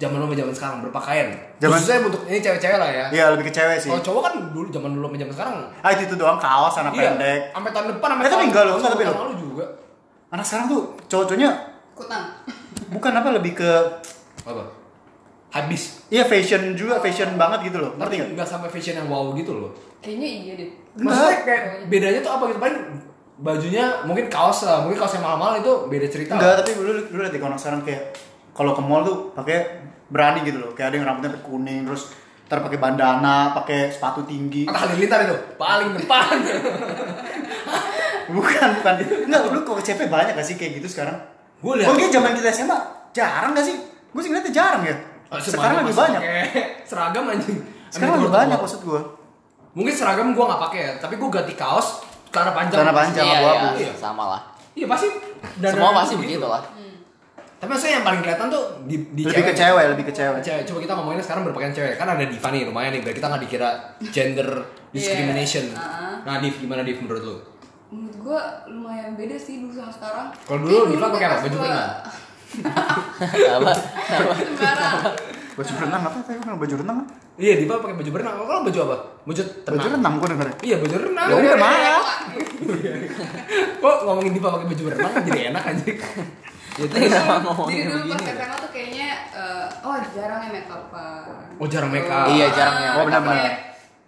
Zaman dulu sama zaman sekarang berpakaian.
Zaman-
Khususnya untuk ini cewek-cewek lah ya.
iya lebih ke cewek sih
Kalau cowok kan dulu zaman dulu sama zaman sekarang.
ah itu, itu doang kaos anak
Iya.
pendek
Sampai tahun depan sampai
Eh, tapi
tahun-
enggak loh, enggak, tapi
tahun
loh.
lalu juga.
anak sekarang tuh cowok-cowoknya
Kutang.
bukan apa lebih ke
Apa? Habis.
iya fashion juga fashion banget gitu loh
Tapi
ngerti nggak
enggak sampai fashion yang wow gitu loh.
Kayaknya iya deh.
Maksudnya kayak
Enggak.
bedanya tuh apa gitu? Paling bajunya mungkin kaos lah, mungkin kaos yang mahal-mahal itu beda cerita.
enggak tapi lu lu lihat di kalau anak sekarang kayak kalau ke mall tuh pakai berani gitu loh kayak ada yang rambutnya sampai kuning terus ntar pakai bandana pakai sepatu tinggi
Atta Halilintar itu paling depan.
bukan bukan enggak lu kok CP banyak gak sih kayak gitu sekarang
Gua lihat-
mungkin zaman kita SMA jarang gak sih gue sih ngeliatnya jarang ya sekarang lebih
Masuk
banyak
Oh, pakai Seragam anjing.
sekarang
Ambil
lebih
keluar
banyak
keluar.
maksud gue
Mungkin seragam gua nggak pakai ya, tapi gua ganti kaos karena panjang.
Celana panjang. Jangan
Iya,
abu-abu.
iya, sama lah.
Iya pasti. dan-
Semua
dan-
pasti begitu lah.
Tapi maksudnya yang paling kelihatan tuh di, di
lebih ke cewek lebih ke cewek
Cewek. Coba kita ngomongin sekarang berpakaian cewek kan ada diva nih lumayan nih biar kita nggak dikira gender discrimination.
Iya. Ah.
Nah Div gimana Div menurut lu?
Menurut gua lumayan beda sih dulu sama sekarang.
Kalau dulu
Kayak
Diva pakai apa?
pas
Baju
gua-
keringat?
Iya. Apa?
Sembarang.
baju renang apa tadi gua bilang baju renang apa?
Iya Diva pakai baju berenang. Kalau baju apa? Baju tenang.
baju renang gue dengernya
Iya baju renang.
Ya udah,
Iya.
maaf.
Kok ngomongin Diva pakai baju berenang jadi enak anjing. Ya,
Jadi
terus-
Kenapa
dulu-
ngomongin
Iya, Jadi dulu pas
begini?
SMA tuh kayaknya eh, oh jarang ya make up-an.
Oh, jarang make up.
Iya, jarang ya.
Oh, benar-benar.
Kayak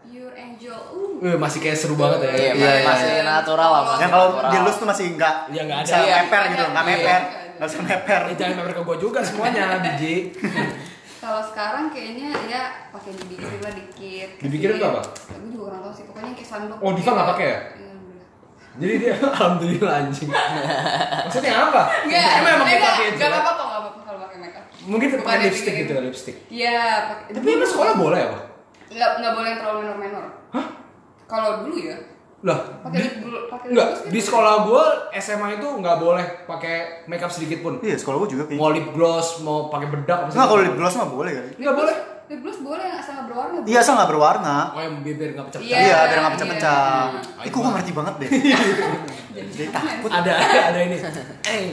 Pure angel. Uh.
Wih, Eh, masih kayak seru banget ya.
Iya,
Iya,
masih
iya.
natural lah. masih
yang kalau
natural.
dia lus tuh masih enggak
Iya, nggak ada.
bisa
Iya.
meper gitu loh nggak
Iya.
meper nggak bisa meper
Eh, jangan mampir ke gua juga semuanya, biji.
Kalau sekarang kayaknya ya pakai dibikirin lah dikit.
Dibikirin tuh apa?
Gue juga kurang tahu sih. Pokoknya yang kayak sunblock.
Oh, Diva nggak pakai ya?
Iya, alhamdulillah.
Jadi dia alhamdulillah anjing. Maksudnya apa?
Enggak,
Emang emang
enggak,
pakai itu.
enggak apa-apa, enggak apa-apa kalau pakai makeup.
Mungkin
Bukan
pakai
yang
lipstick
dibikirin.
gitu, lipstick.
Iya, pakai.
Tapi emang sekolah boleh apa?
nggak nggak boleh yang terlalu menor-menor. Hah? Kalau dulu ya,
Lah,
pakai lip gloss, pakai lip gloss
enggak
kan?
di sekolah gue SMA itu nggak boleh pakai makeup sedikit pun.
Iya, sekolah gue juga kayaknya.
Mau lip gloss, mau pakai bedak. apa
Enggak kalau
segala.
lip gloss mah boleh kali.
nggak boleh.
Lip gloss boleh yang asal nggak berwarna. Bu.
Iya, asal nggak berwarna.
Oh yang bibir nggak pecah.
Iya,
Iya, biar nggak pecah-pecah.
iya.
Ih, kok gue ngerti banget deh. Jadi takut.
Ada ada ini. Eh.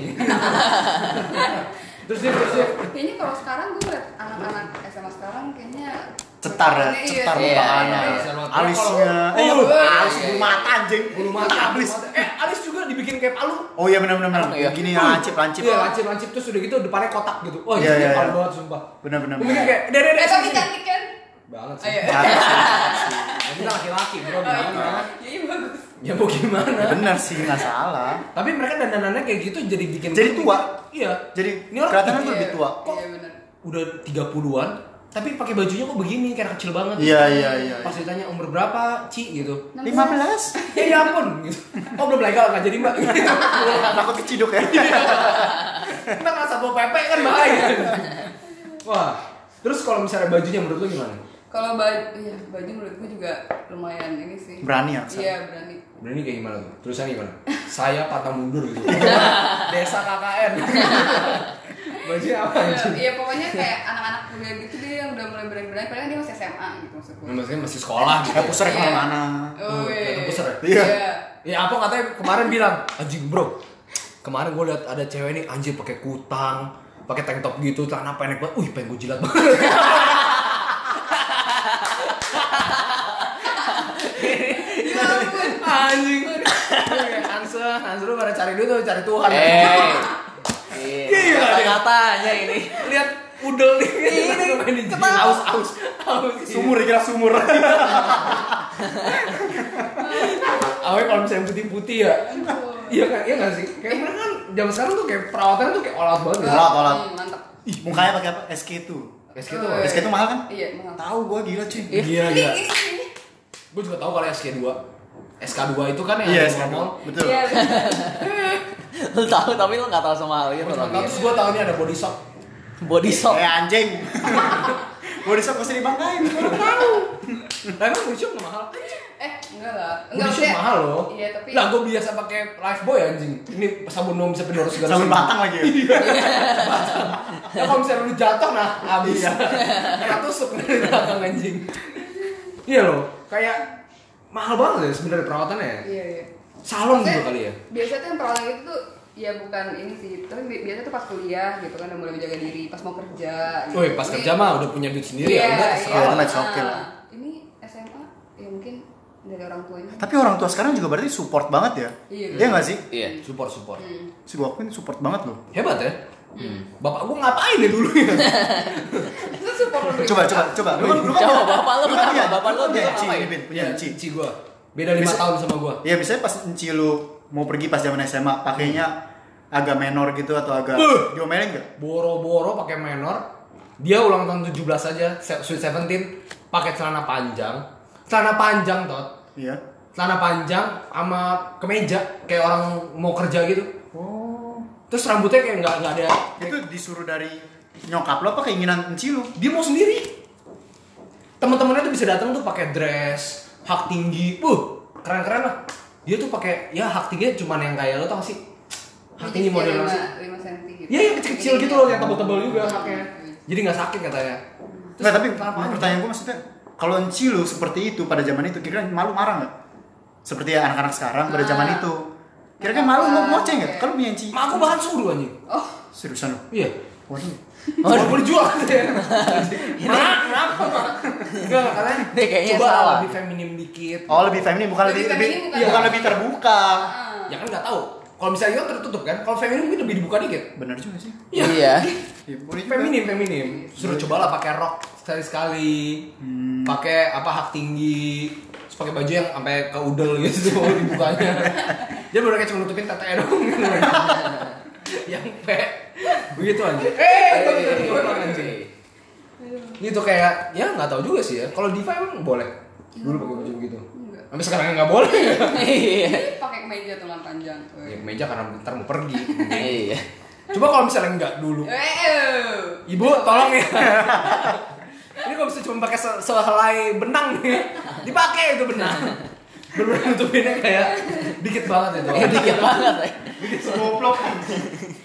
terus dia terus dia.
Kayaknya kalau sekarang gue liat anak-anak SMA sekarang kayaknya
Cetar ya,
berwarna, iya,
cetar
iya, iya,
muka anak.
iya.
iya.
Alisnya.
Kalau-
Eh, iya,
Oh,
bulu-
iya,
alis
iya,
bulu
iya.
mata anjing.
Bulu
Mata
mata,
alis.
bulu mata. Eh alis juga dibikin kayak palu.
Oh iya benar benar.
Iya.
Gini lancip lancip.
Iya lancip lancip terus udah gitu depannya kotak gitu. Oh
Iya,
iya
iya,
iya.
iya.
Palu banget sumpah.
Benar benar.
Gue mikir kayak dari dari
Eh tapi
sini.
cantik kan?
Banget
Oh,
sih.
iya.
Ya, Kita laki-laki bro
Oh, iya.
gimana?
Iya bagus.
Ya mau gimana?
Benar sih, nggak salah.
Tapi mereka dandanannya kayak gitu jadi bikin
Jadi
gua
tua.
mikir, Iya.
Jadi
Ini orang ya?
kelihatannya tuh
Iya,
lebih tua.
Iya benar.
udah 30-an tapi pakai bajunya kok begini kayak anak kecil banget.
Iya iya iya.
Pas ditanya umur berapa, Ci gitu.
15.
Ya ya ampun gitu. Oh belum legal nggak jadi Mbak. Gitu.
Takut keciduk ya.
Iya. Ntar rasa bawa pepe kan bahaya. Wah. Terus kalau misalnya bajunya menurut lu gimana?
Kalau baju, iya baju menurut gue juga lumayan ini sih.
Berani ya, Sa?
Iya berani.
Berani Nah, kayak gimana tuh? Terusannya gimana? Saya patah mundur gitu. Desa KKN. bajunya apa
Iya,
anjing?
Iya pokoknya kayak anak-anak kuliah gitu dia yang udah mulai berani-berani padahal dia masih SMA gitu maksud gue.
Nah, Maksudnya masih sekolah gitu.
Ya pusar
Iya.
kemana-mana.
Oh,
Oh,
iya.
kata pusar ya?
Iya.
Ya apa katanya kemarin bilang, anjing bro. Kemarin gue lihat ada cewek nih anjir pakai kutang, pakai tank top gitu, celana pendek banget. Wih, pengen gue jilat banget.
Ya ampun.
anjing. Hansa, Hansa lu pada cari duit atau cari Tuhan?
Eh.
Gila,
Iya, katanya ini.
Lihat udel nih. Ini
ketawa. Iya.
aus aus aus. ya?
Sumur dikira sumur.
Awe kalau misalnya putih putih ya. Iya kan, iya kan sih. Kayak mereka kan zaman sekarang tuh kayak perawatannya tuh kayak all out banget. Ya.
Iya.
Kolak, kolak.
Hmm, Mantap.
Ih, mukanya pakai apa? SK2.
Kayak gitu.
Eh.
SK2 mahal kan?
Iya, mahal.
Tahu gua gila cuy.
Iya,
Ini,
iya.
ini, ini.
Gue juga tahu kalau SK2. SK2 itu kan yang
Iya,
ada di
SK2.
mall-mall.
Betul.
Iya, benar.
Lu tahu tapi lu nggak tahu sama hal itu.
Gua cuma
Rob.
tahu, Terus gue tahu ini ada body shop.
Body shop.
Eh anjing. Gua disok mesti dibanggain. Gua tahu.
Lah emang body shop nggak mahal?
Eh, enggak lah.
Body
Enggak
shop
maksudnya-
mahal loh.
Iya, tapi
Lah gue biasa pakai Life Boy anjing. Ini sabun nom bisa penyuruh segala
Sabun batang lagi. ya?
Nah kalau misalnya lu jatuh nah habis. Kena tusuk dari belakang anjing. Iya loh, kayak mahal banget ya sebenarnya perawatannya. ya.
Iya, iya.
Salon
Maksudnya,
juga kali ya.
Biasa tuh yang perawan itu tuh ya bukan ini sih, tapi bi- biasa tuh pas kuliah gitu kan udah mulai menjaga diri, pas mau kerja. Gitu.
Woi, pas
Ini-
kerja mah udah punya duit sendiri
iya,
ya udah
iya.
serah.
Online,
Ah,
oke lah.
Ini SMA ya mungkin dari orang tuanya.
Tapi orang tua sekarang juga berarti support banget ya.
Iya.
Iya nggak sih?
Iya.
Support support.
Hmm.
Si gua akuin support banget loh.
Hebat ya. Bapak gua ngapain ya dulu ya?
Itu support lu gitu.
Coba coba coba. Lu kan lu kan
Coba bapak lu
kan
kenapa?
punya-
Bapak lu
punya
dia
enci,
ngapain?
Bin, punya
Iya,
enci.
cici gua. Beda 5
Bisa-
tahun sama gua.
Iya, biasanya pas enci lu mau pergi pas zaman SMA pakainya agak menor gitu atau agak
Beuh.
diomelin enggak?
boro-boro pakai menor dia ulang tahun 17 aja se- sweet 17 pakai celana panjang celana panjang tot
Iya.
celana panjang sama kemeja kayak orang mau kerja gitu
Oh.
terus rambutnya kayak nggak nggak ada
Itu disuruh dari nyokap lo apa keinginan enci lu?
dia mau sendiri teman-temannya tuh bisa datang tuh pakai dress hak tinggi buh keren-keren lah dia tuh pakai ya hak tingginya cuman yang kayak lo tau gak sih hak tinggi model apa sih
5 cm gitu.
ya yang kecil-kecil gitu loh yang tebel-tebel juga haknya jadi nggak sakit katanya Terus
Nggak, tapi
kenapa?
pertanyaan gue maksudnya kalau enci lu seperti itu pada zaman itu kira-kira malu marah nggak? Seperti ya anak-anak sekarang pada zaman itu. Kira-kira malu mau ngoceh nggak? Kalau punya enci.
Mak aku bahkan suruh anjing
Oh,
Seriusan lu.
Iya.
Waduh. Oh,
Baru boleh jual
Iya,
ya. Mak, kenapa, Mak? Enggak, karena
Ini kayaknya
coba
salah.
lebih feminim dikit.
Oh, lebih feminin bukan lebih
Lebih
lebih,
feminin bukan.
iya, bukan lebih terbuka.
Ya kan enggak tahu. Kalau misalnya itu tertutup kan, kalau feminim mungkin lebih dibuka dikit.
Bener juga sih.
Iya.
Ya, boleh juga.
Feminim, feminim. Iya. Suruh cobalah pakai rok sekali-sekali. Pakai apa hak tinggi. Terus pakai baju yang sampai ke udel gitu dibukanya. Dia bener kayak cuma nutupin tete gitu. dong. yang pe. Begitu aja. Eh, itu itu, itu, itu, anjing. Gitu kayak ya nggak tahu juga sih ya. Kalau Diva emang boleh. Dulu pakai baju begitu.
enggak.
Sampai sekarang nggak boleh.
Iya.
Pakai kemeja lengan panjang.
ya,
Eh,
meja karena bentar mau pergi.
Iya.
Coba kalau misalnya nggak dulu.
eh.
Ibu, tolong ya. Ini kalau bisa cuma pakai se- sehelai benang nih. Dipakai itu benang. Bener-bener nutupinnya kayak dikit banget itu.
Eh, dikit banget. eh.
Goblok.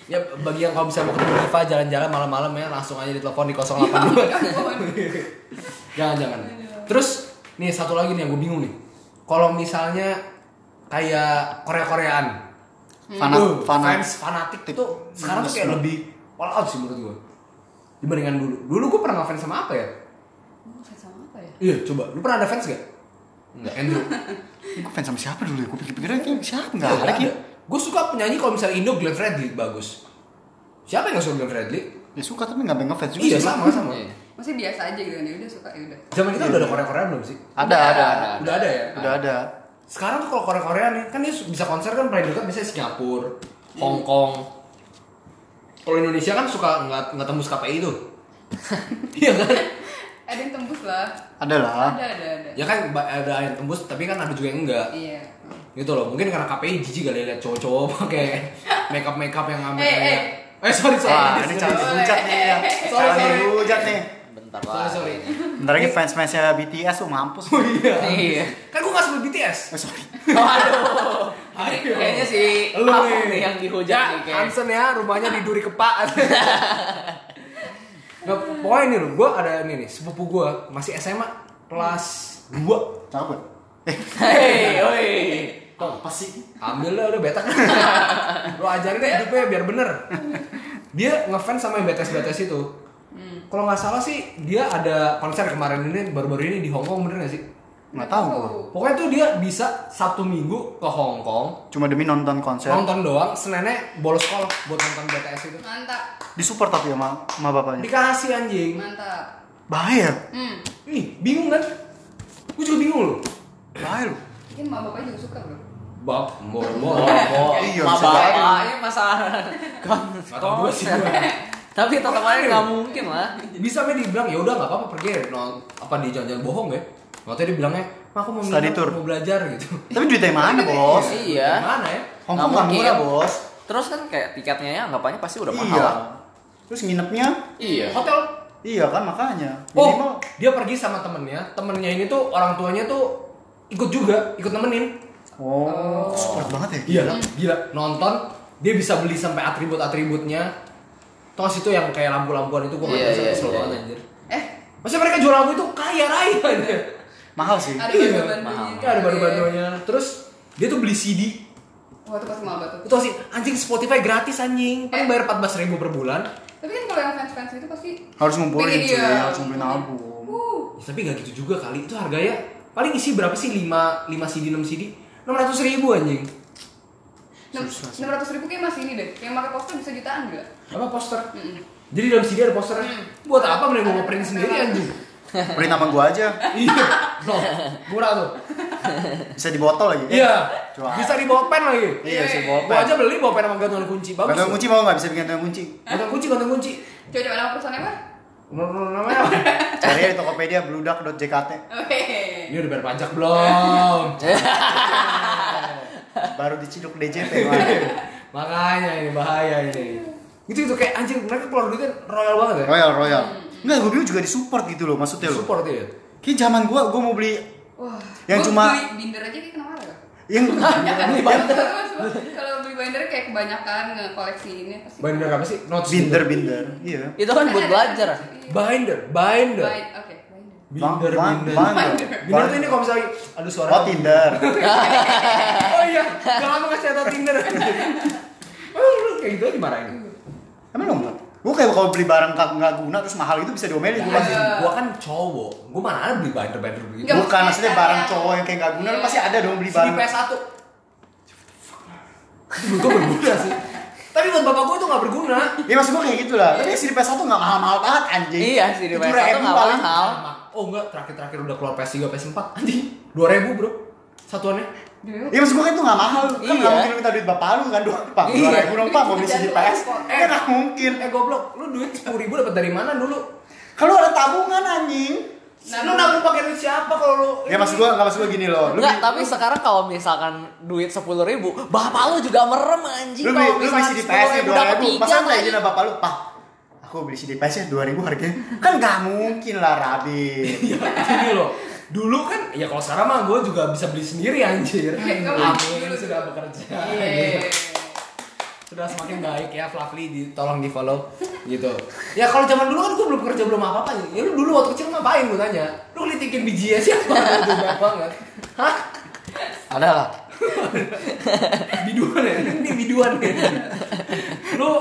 Ya bagi yang kalau bisa mau ketemu Diva jalan-jalan malam-malam ya langsung aja ditelepon di 082. Jangan-jangan. Terus nih satu lagi nih yang gue bingung nih. Kalau misalnya kayak Korea-Koreaan.
Fanat,
Uh,
fanat.
fans fanatik tuh sekarang tuh
Yes,
kayak
bro.
lebih all out sih menurut gue. Dibandingkan dulu. Dulu gue pernah ngefans sama apa ya?
Hmm, fans sama apa ya?
Iya, coba. Lu pernah ada fans gak? Enggak, Andrew.
Gue fans sama siapa dulu ya? Gue pikir-pikir ini siapa nggak
Enggak
ada
lagi.
Ki.
Gue suka penyanyi kalau misalnya Indo Glenn Fredly bagus. Siapa yang gak suka Glenn Fredly?
Ya suka tapi nggak pengen ngefans juga.
Iya,
sih.
sama sama.
Iya.
Maksudnya biasa aja gitu kan, ya udah suka ya udah.
Zaman kita udah ada Korea-Korea belum sih?
Ada, ada, ada.
Udah ada ya?
Udah ada.
Sekarang tuh kalau Korea-Korea nih, kan dia bisa konser kan paling dekat biasanya Singapura, Hong Kong. Kalau Indonesia kan suka nggak nggak tembus KPI tuh. iya kan?
Eh, Ada yang tembus lah.
Ada lah.
Ada ada ada.
Ya kan ba- ada yang tembus, tapi kan ada juga yang enggak.
Iya.
gitu loh mungkin karena KPI jijik kali lihat cowok-cowok pakai makeup makeup yang ngambil
Eh,
kayak eh sorry sorry
Wah, Ah, ini calon
sorry
dihujat nih ya.
Sorry,
Calon
sorry.
dihujat nih.
Bentar
sorry,
lah.
sorry.
Bentar lagi fans-fansnya BTS tuh mampus.
oh iya
Iya.
kan gua nggak sebut BTS
Oh, sorry.
Waduh.
Ayo.
Kayaknya si
Lu
Apung
nih.
nih yang dihujat
Ya,
nih kayak.
Hansen ya rumahnya di Duri Kepa Nggak, pokoknya ini loh, gue ada ini nih, sepupu gue masih SMA kelas 2
Cakep gak? Eh,
Hei, oi.
apa sih?
Ambil lah udah betak Lo ajarin deh hidupnya biar bener Dia ngefans sama yang BTS-BTS itu
Hmm.
Kalau nggak salah sih dia ada konser kemarin ini baru-baru ini di Hong Kong bener nggak sih?
Nggak tahu gua.
Pokoknya tuh dia bisa Sabtu Minggu ke Hong Kong
Cuma demi nonton konser.
nonton doang, Seninnya bolos sekolah buat nonton BTS itu.
Mantap,
Disupport tapi sama, sama bapaknya.
Dikasih anjing.
mantap.
Bahaya.
Hmm.
Nih, bingung kan? Gue juga bingung loh.
Bahaya lu.
Mungkin mama bapaknya juga suka bro.
Bab, bol, bol,
Oh,
Iya,
ma
bisa jadi.
bapaknya masalah.
Kan
Gak tau gue sih gua.
Tapi teman-temannya nggak mungkin lah.
Bisa me dibilang ya udah nggak apa-apa pergi ya. No, apa dia jangan-jangan bohong ya? Waktu dia bilangnya, "Ma, aku mau
Study
minum,
tour."
mau belajar gitu.
Tapi duitnya mana, bos?
Iya.
Gimana ya?
Hongkong
Nggak
nggak murah,
mungkin.
bos.
Terus kan kayak tiketnya ya anggapannya pasti udah mahal.
Iya.
lah.
Terus nginepnya?
Iya.
Hotel.
Iya kan, makanya.
Oh,
Minimal.
dia pergi sama temennya. Temennya ini tuh orang tuanya tuh ikut juga, ikut nemenin.
Oh, support banget ya?
Iya, gila. Nonton, dia bisa beli sampai atribut-atributnya. Tos itu yang kayak lampu-lampuan itu gue nggak
Iya,
tahu
iya,
kesel
iya,
banget
iya.
anjir.
Eh,
Maksudnya mereka jual lampu itu kaya raya anjir.
Mahal sih.
ada
Iya,
bandu-bandunya.
Kayak ada baru-barunya. Terus dia tuh beli CD.
Wah itu pasti mama
Itu
tuh.
sih anjing Spotify gratis anjing. Paling bayar 14.000 ribu per bulan.
Tapi kan kalau yang fans-fans itu pasti uh,
Harus ngumpulin
Pengen
cuy,
dia.
harus ngumpulin album.
Wuh,
Ya, tapi gak gitu juga kali. Itu harganya paling isi berapa sih? 5 5 CD 6 CD? 600.000 anjing.
enam ratus ribu kayak masih ini deh. Yang pakai poster bisa jutaan gila.
Apa poster?
Mm-mm.
Jadi dalam CD ada posternya. Buat apa mending gua print sendiri anjing?
Print nama gua aja.
Iya. No, murah tuh.
Bisa di botol lagi.
Iya.
Jual.
Bisa dibawa pen lagi.
Iya, bisa di
Gua
botol.
aja beli bawa pen sama gantungan kunci. Bagus.
Gantungan kunci mau nggak? Bisa bikin gantungan kunci.
Gantungan kunci, gantungan kunci.
Coba coba nama perusahaan apa?
Namanya apa?
Cari aja di Tokopedia bludak.jkt.
Oke.
Ini udah bayar pajak belum?
Baru diciduk DJP.
Makanya ini bahaya ini. Gitu itu kayak anjir mereka keluar duitnya royal banget ya.
Royal, Royal. Enggak, gue bilang juga disupport gitu loh maksudnya loh.
Support ya.
Kayak zaman gua, gua mau beli
Wah. gua
Yang cuma-
beli binder aja kayak kena marah gak?
yang
Kalau beli binder kayak kebanyakan ngekoleksi ini pasti.
Binder apa sih? Notes
binder
gitu.
binder. Iya.
Itu kan buat belajar.
Iya.
Binder, binder.
Bind- Oke, binder.
Binder,
Ban-
binder.
ban-
Binder.
Binder
ban-
tuh ini kalau misalnya aduh suara.
Oh Tinder.
Oh iya, gak lama ngasih tau Tinder. Oh, lu kayak gitu aja dimarahin.
Emang lo enggak? Gue kayak kalau beli barang nggak nggak guna terus mahal itu bisa diomelin gue pasti.
Iya.
Gua kan cowok, gua mana ada beli binder binder begitu.
Nggak,
Bukan
maksudnya
maksudnya
ada
barang
yang-
cowok yang kayak nggak guna lu
Iya.
pasti ada dong beli
Sini
barang.
PS1. Gue berguna sih. Tapi buat bapak gua tuh gak berguna.
Iya maksud gue kayak gitu lah. Tapi CD PS1 nggak mahal-mahal banget anjing.
Iya, CD
7.000
PS1 nggak
paling.
mahal.
Iya.
Sama. Oh enggak, terakhir-terakhir udah keluar PS3, PS4. Anjing, 2000, Bro. Satuannya.
Dulu
Iya maksud gue kan itu nggak mahal. Kan nggak
Iya.
mungkin lu minta duit bapak lu kan dua pak
Iya.
dua ribu dong pak mau beli CD PS.
Eh.
Kan nggak mungkin.
Eh goblok, lu duit 10.000 ribu dapat dari mana dulu?
Kalau ada tabungan anjing.
Nah, lu nabung pakai duit siapa kalau lu?
Ya maksud gue nggak maksud gue gini loh. Lu
Enggak,
beli-
tapi sekarang kalau misalkan duit sepuluh ribu, bapak lu juga merem
lu
anjing.
beli
kalau
lu beli
misalkan
CD PS nya
ribu
dua
dapat
ribu.
tiga
Masa lu
anjing.
aja bapak lu pak. Aku aku beli CD PS ya 2000 harganya kan nggak mungkin lah Rabi
Ya, gini loh. Dulu kan, ya kalau sekarang mah gue juga bisa beli sendiri anjir.
Iya, kamu
Amin,
dulu.
sudah bekerja.
Iya.
Sudah semakin baik ya Fluffy, di, tolong di follow gitu. Ya kalau zaman dulu kan gue belum kerja belum apa-apa nih. Ya lu dulu waktu kecil ngapain gue tanya? Lu ngelitikin bijinya siapa? Gue banyak banget. Hah?
Ada lah.
Biduan ya? Ini biduan ya? Lu uh,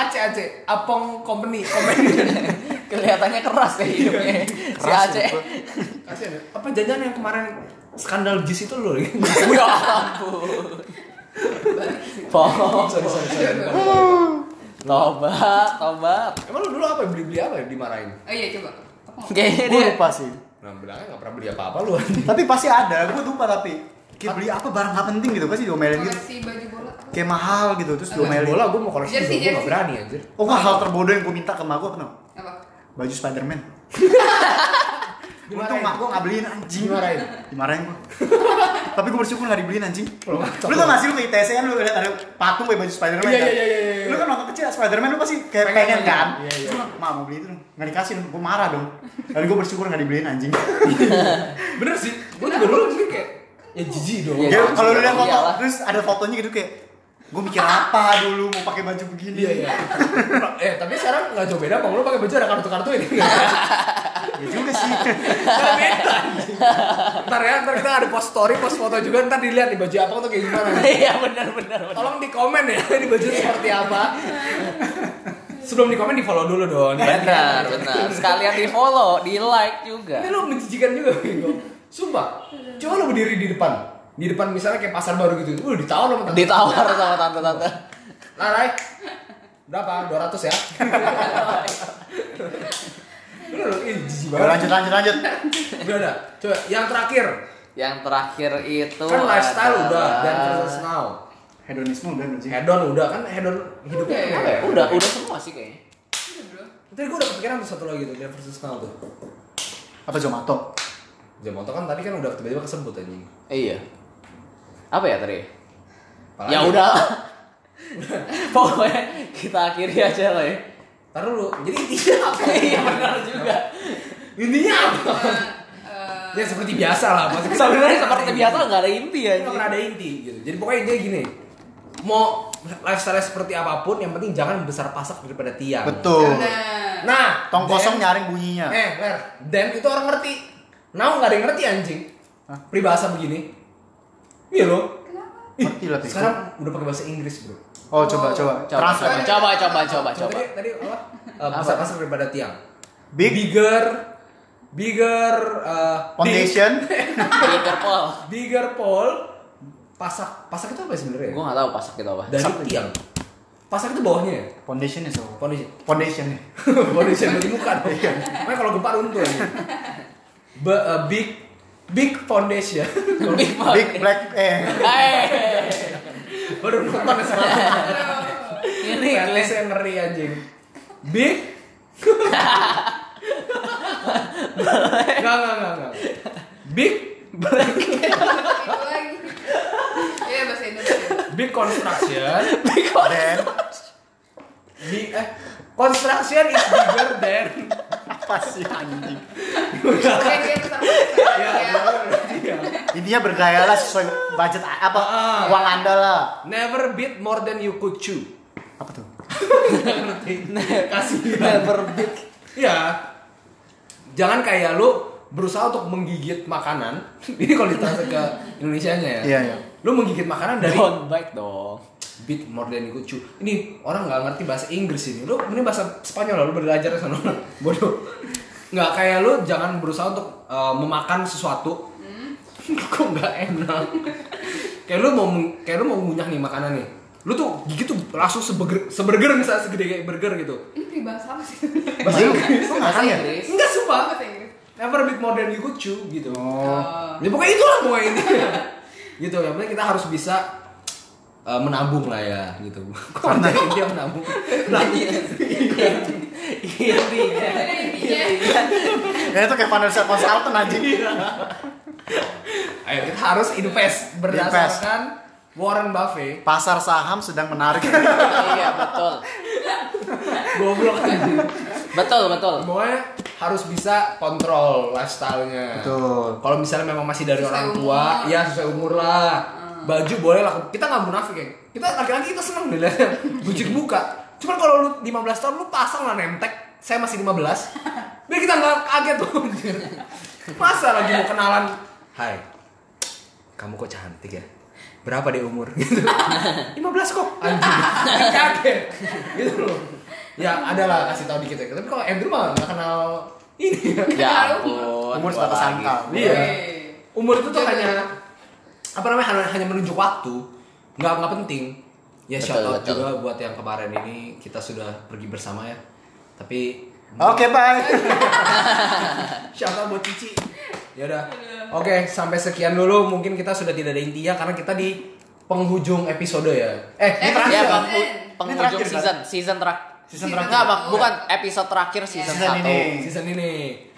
Aceh Aceh, Apong Company, Company.
Kelihatannya keras deh hidupnya.
Iya,
Si
Keras,
Aceh.
betul.
Kasian ya? Apa jajan yang kemarin skandal jis itu lu?
Ya ampun. Bohong.
sorry, sorry, sorry.
Tobat, tobat.
Emang lu dulu apa ya? beli-beli apa ya dimarahin?
Oh iya coba. Apa ngomong?
Kayaknya
gue
dia
lupa sih
Nah, bilangnya gak pernah beli apa-apa lu
tapi pasti ada gue lupa tapi kayak beli apa barang nggak penting gitu pasti diomelin gitu
Koleksi baju bola. apa?
kayak mahal gitu terus diomelin
Bola gue mau koleksi
Iya
juga,
Jersey,
gue gak
jersey.
berani anjir
oh nggak hal terbodoh yang gue minta ke mak gue apa tau?
Apa?
baju Spiderman untung
Dimarahin.
mak gue nggak beliin anjing
Dimarahin.
dimarahin gue tapi gue bersyukur nggak dibeliin anjing
Kalau nggak,
lu tau gak sih lu ke ITS kan lu lihat ada patung kayak baju Spiderman
Iya,
kan?
iya, iya, iya.
lu kan waktu kecil Spiderman lu pasti kayak
Pengen, pengen.
pengen, kan
Iya, iya.
Terus gua, mak mau beli itu dong nggak dikasih dong gue marah dong tapi gue bersyukur nggak dibeliin anjing
Bener sih, gue juga dulu mungkin kayak Ya jijik dong
Iya,
ya
anjing,
kalau lu lihat foto
iyalah.
terus ada fotonya gitu kayak gue mikir apa dulu mau pakai baju begini
Iya, iya Eh, tapi sekarang gak jauh beda, bang lu pakai baju ada kartu-kartu ini
ya juga sih
Nggak beda anjing. Ntar ya, ntar kita ada post story, post foto juga Ntar dilihat nih baju apa tuh kayak gimana
Iya benar benar. benar.
Tolong di komen ya, ini baju seperti apa Sebelum di komen di follow dulu dong Iya, kan?
Benar benar. Iya. Sekalian di follow, di like juga.
Ini lo menjijikan juga bego. Sumpah. Coba lo berdiri di depan. Di depan misalnya kayak pasar baru gitu. Uh, ditawar lo
Ditawar sama tante-tante.
Larai. Berapa? 200 ya. Bener lo, ih jijik
Udah,
banget.
lanjut lanjut lanjut
Udah, udah. Coba yang terakhir.
Yang terakhir itu
Kan lifestyle
adalah-
udah dan versus now.
hedonisme udah belum sih
Hedon udah kan hedon hidupnya
Iya,
apa ya?
Udah, udah semua sih kayaknya.
Udah, bro.
Tadi gue udah kepikiran tuh satu lagi tuh dan versus now tuh.
apa Zomato
Jamoto kan tadi kan udah tiba-tiba kesebut aja.
Iya. Apa ya tadi?
Apalagi?
Ya udah. Pokoknya kita akhiri aja lah ya.
Taruh lu. Jadi intinya apa?
Iya benar juga.
Intinya apa?
Eh,
Ya seperti biasa lah. maksudnya kita-
Sebenarnya seperti biasa nggak ada inti
Ini nggak pernah
aja.
ada inti gitu. Jadi pokoknya intinya gini. Mau lifestyle seperti apapun, yang penting jangan besar pasak daripada tiang.
betul
Iya,
Nah,
Nah,
tong kosong
Dan-
nyaring bunyinya
Eh, Ler, dan itu orang ngerti. Now nggak ada yang ngerti anjing.
Hah?
Peribahasa begini. Iya loh. Ih,
Ngerti lah, Bego.
Sekarang udah pakai bahasa Inggris, Bro.
oh coba coba
Coba,
Transfer.
coba, coba, coba, coba, coba.
Tadi, tadi apa? Eh, besar pasak daripada tiang.
Big.
bigger bigger eh,
foundation
Bigger Paul.
big- bigger pole pasak pasak itu apa ya sebenarnya?
Gue nggak tahu pasak itu apa.
dari tiang
ya?
pasak itu bawahnya ya
foundation ya so
kondisi
foundation
kondisi dari muka dong
Iya.
makanya kalau gempa runtuh ya. Be, eh, big big foundation
Big Paul.
big black eh
Eh,
baru nonton semalam
ini
ini
kalian
saya ngeri anjing big Nggak, nggak, nggak, nggak. big
itu lagi. Iya bahasa Indonesia.
big construction
dan
big eh construction is bigger than
apa sih anjing
Oke, dia besar besar.
ya,
Ya.
ya.
intinya bergayalah sesuai budget a- apa
Ah.
uang anda lah
never beat more than you could chew
apa tuh
ngerti kasihan
never big.
ya jangan kayak lu berusaha untuk menggigit makanan ini kalau ditranslate ke Indonesia nya ya
Iya, Oh. iya.
lu menggigit makanan dari
Don't bite dong.
beat more than you could chew ini orang nggak ngerti bahasa Inggris ini lu ini bahasa Spanyol lah, lu belajar sana bodoh nggak kayak lu jangan berusaha untuk uh, memakan sesuatu
Hmm.
kok nggak enak kayak lu mau meng- kayak lu mau ngunyah nih makanan nih lu tuh gigit tuh langsung seberger seberger misalnya segede kayak burger gitu
Ini peribahasa apa sih?
bahasa Inggris lu nggak
Bahasa
kan ya
Inggris.
Enggak sumpah.
Bahasa Inggris.
Never beat more than you could chew gitu.
Oh.
Ya pokoknya itulah pokoknya ini. gitu, yang penting kita harus bisa eh, menabung lah ya gitu. Karena dia menabung. Nah,
Intinya,
Jadi
Iya.
intinya,
ya itu kayak financial consultant anjing
ayo kita harus invest berdasarkan Warren Buffett
Pasar saham sedang menarik.
iya betul
goblok aja.
betul betul
Pokoknya harus bisa kontrol lifestyle-nya.
Betul.
Kalau misalnya memang masih dari
Sesuai
orang
umur. Hmm.
tua, ya sesuai umur lah. Baju boleh lah. Kita nggak munafik ya. Kita laki-laki kita seneng dilihatnya. Bujuk muka. Cuman kalau lu 15 tahun lu pasang lah nemtek. Saya masih 15. Biar kita nggak kaget tuh. anjir. Masa lagi mau kenalan. Hai. Kamu kok cantik ya? Berapa deh umur? Gitu. 15 kok. Anjir. Kaget. Gitu loh. Ya adalah kasih tahu dikit ya. Tapi kalau Andrew mah nggak kenal ini ya.
ya ampun
Umur
gua
sebatas
lagi.
angka.
Iya.
Weh.
umur itu tuh
Iya,
hanya apa namanya hanya, hanya menunjuk waktu nggak nggak penting ya
Betul,
shout out
betul.
juga buat yang kemarin ini kita sudah pergi bersama ya tapi
Oke, bye.
shout out buat Cici ya udah oke sampai sekian dulu mungkin kita sudah tidak ada intinya karena kita di penghujung episode ya eh ini
Eh,
terakhir
ya
Season.
bang
Ini
penghujung
terakhir,
season season terakhir
Season
terakhir.
Enggak, Bang,
Oh,
bukan episode terakhir season
Season
satu
ini.
season ini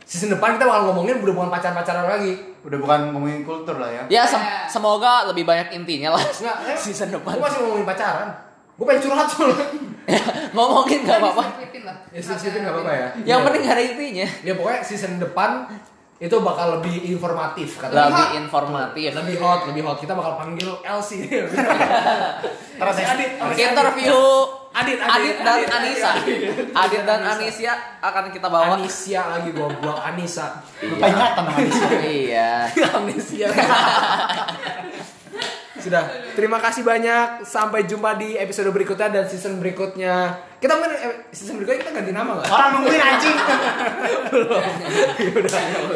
season depan kita bakal ngomongin udah bukan pacar pacaran lagi
Udah bukan ngomongin kultur lah ya.
ya sem-
Ya.
semoga lebih banyak intinya lah
Nggak, eh,
season depan
gue masih ngomongin pacaran gue pengen curhat soalnya
ngomongin nggak apa-apa
Diselipin lah.
ya season nggak apa-apa ya
yang
Iya.
penting gak ada intinya
Ya pokoknya season depan itu bakal lebih informatif kata
lebih
hot.
informatif
Iya. lebih hot, lebih hot. Kita bakal panggil Elsie.
Terus
Si Adit, sama si
interview
Adit, Adit,
Adit dan
Adit,
Anissa
Adit,
Adit dan Anissa akan kita
Adit.
bawa
Anisia lagi goblok Anissa.
Lupa ingatan sama Anissa.
iya
Amnesia. Sudah. Terima kasih banyak. Sampai jumpa di episode berikutnya dan season berikutnya. Kita mungkin eh, season berikutnya kita ganti nama nggak?
Orang nungguin anjing.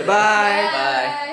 Bye.
Bye.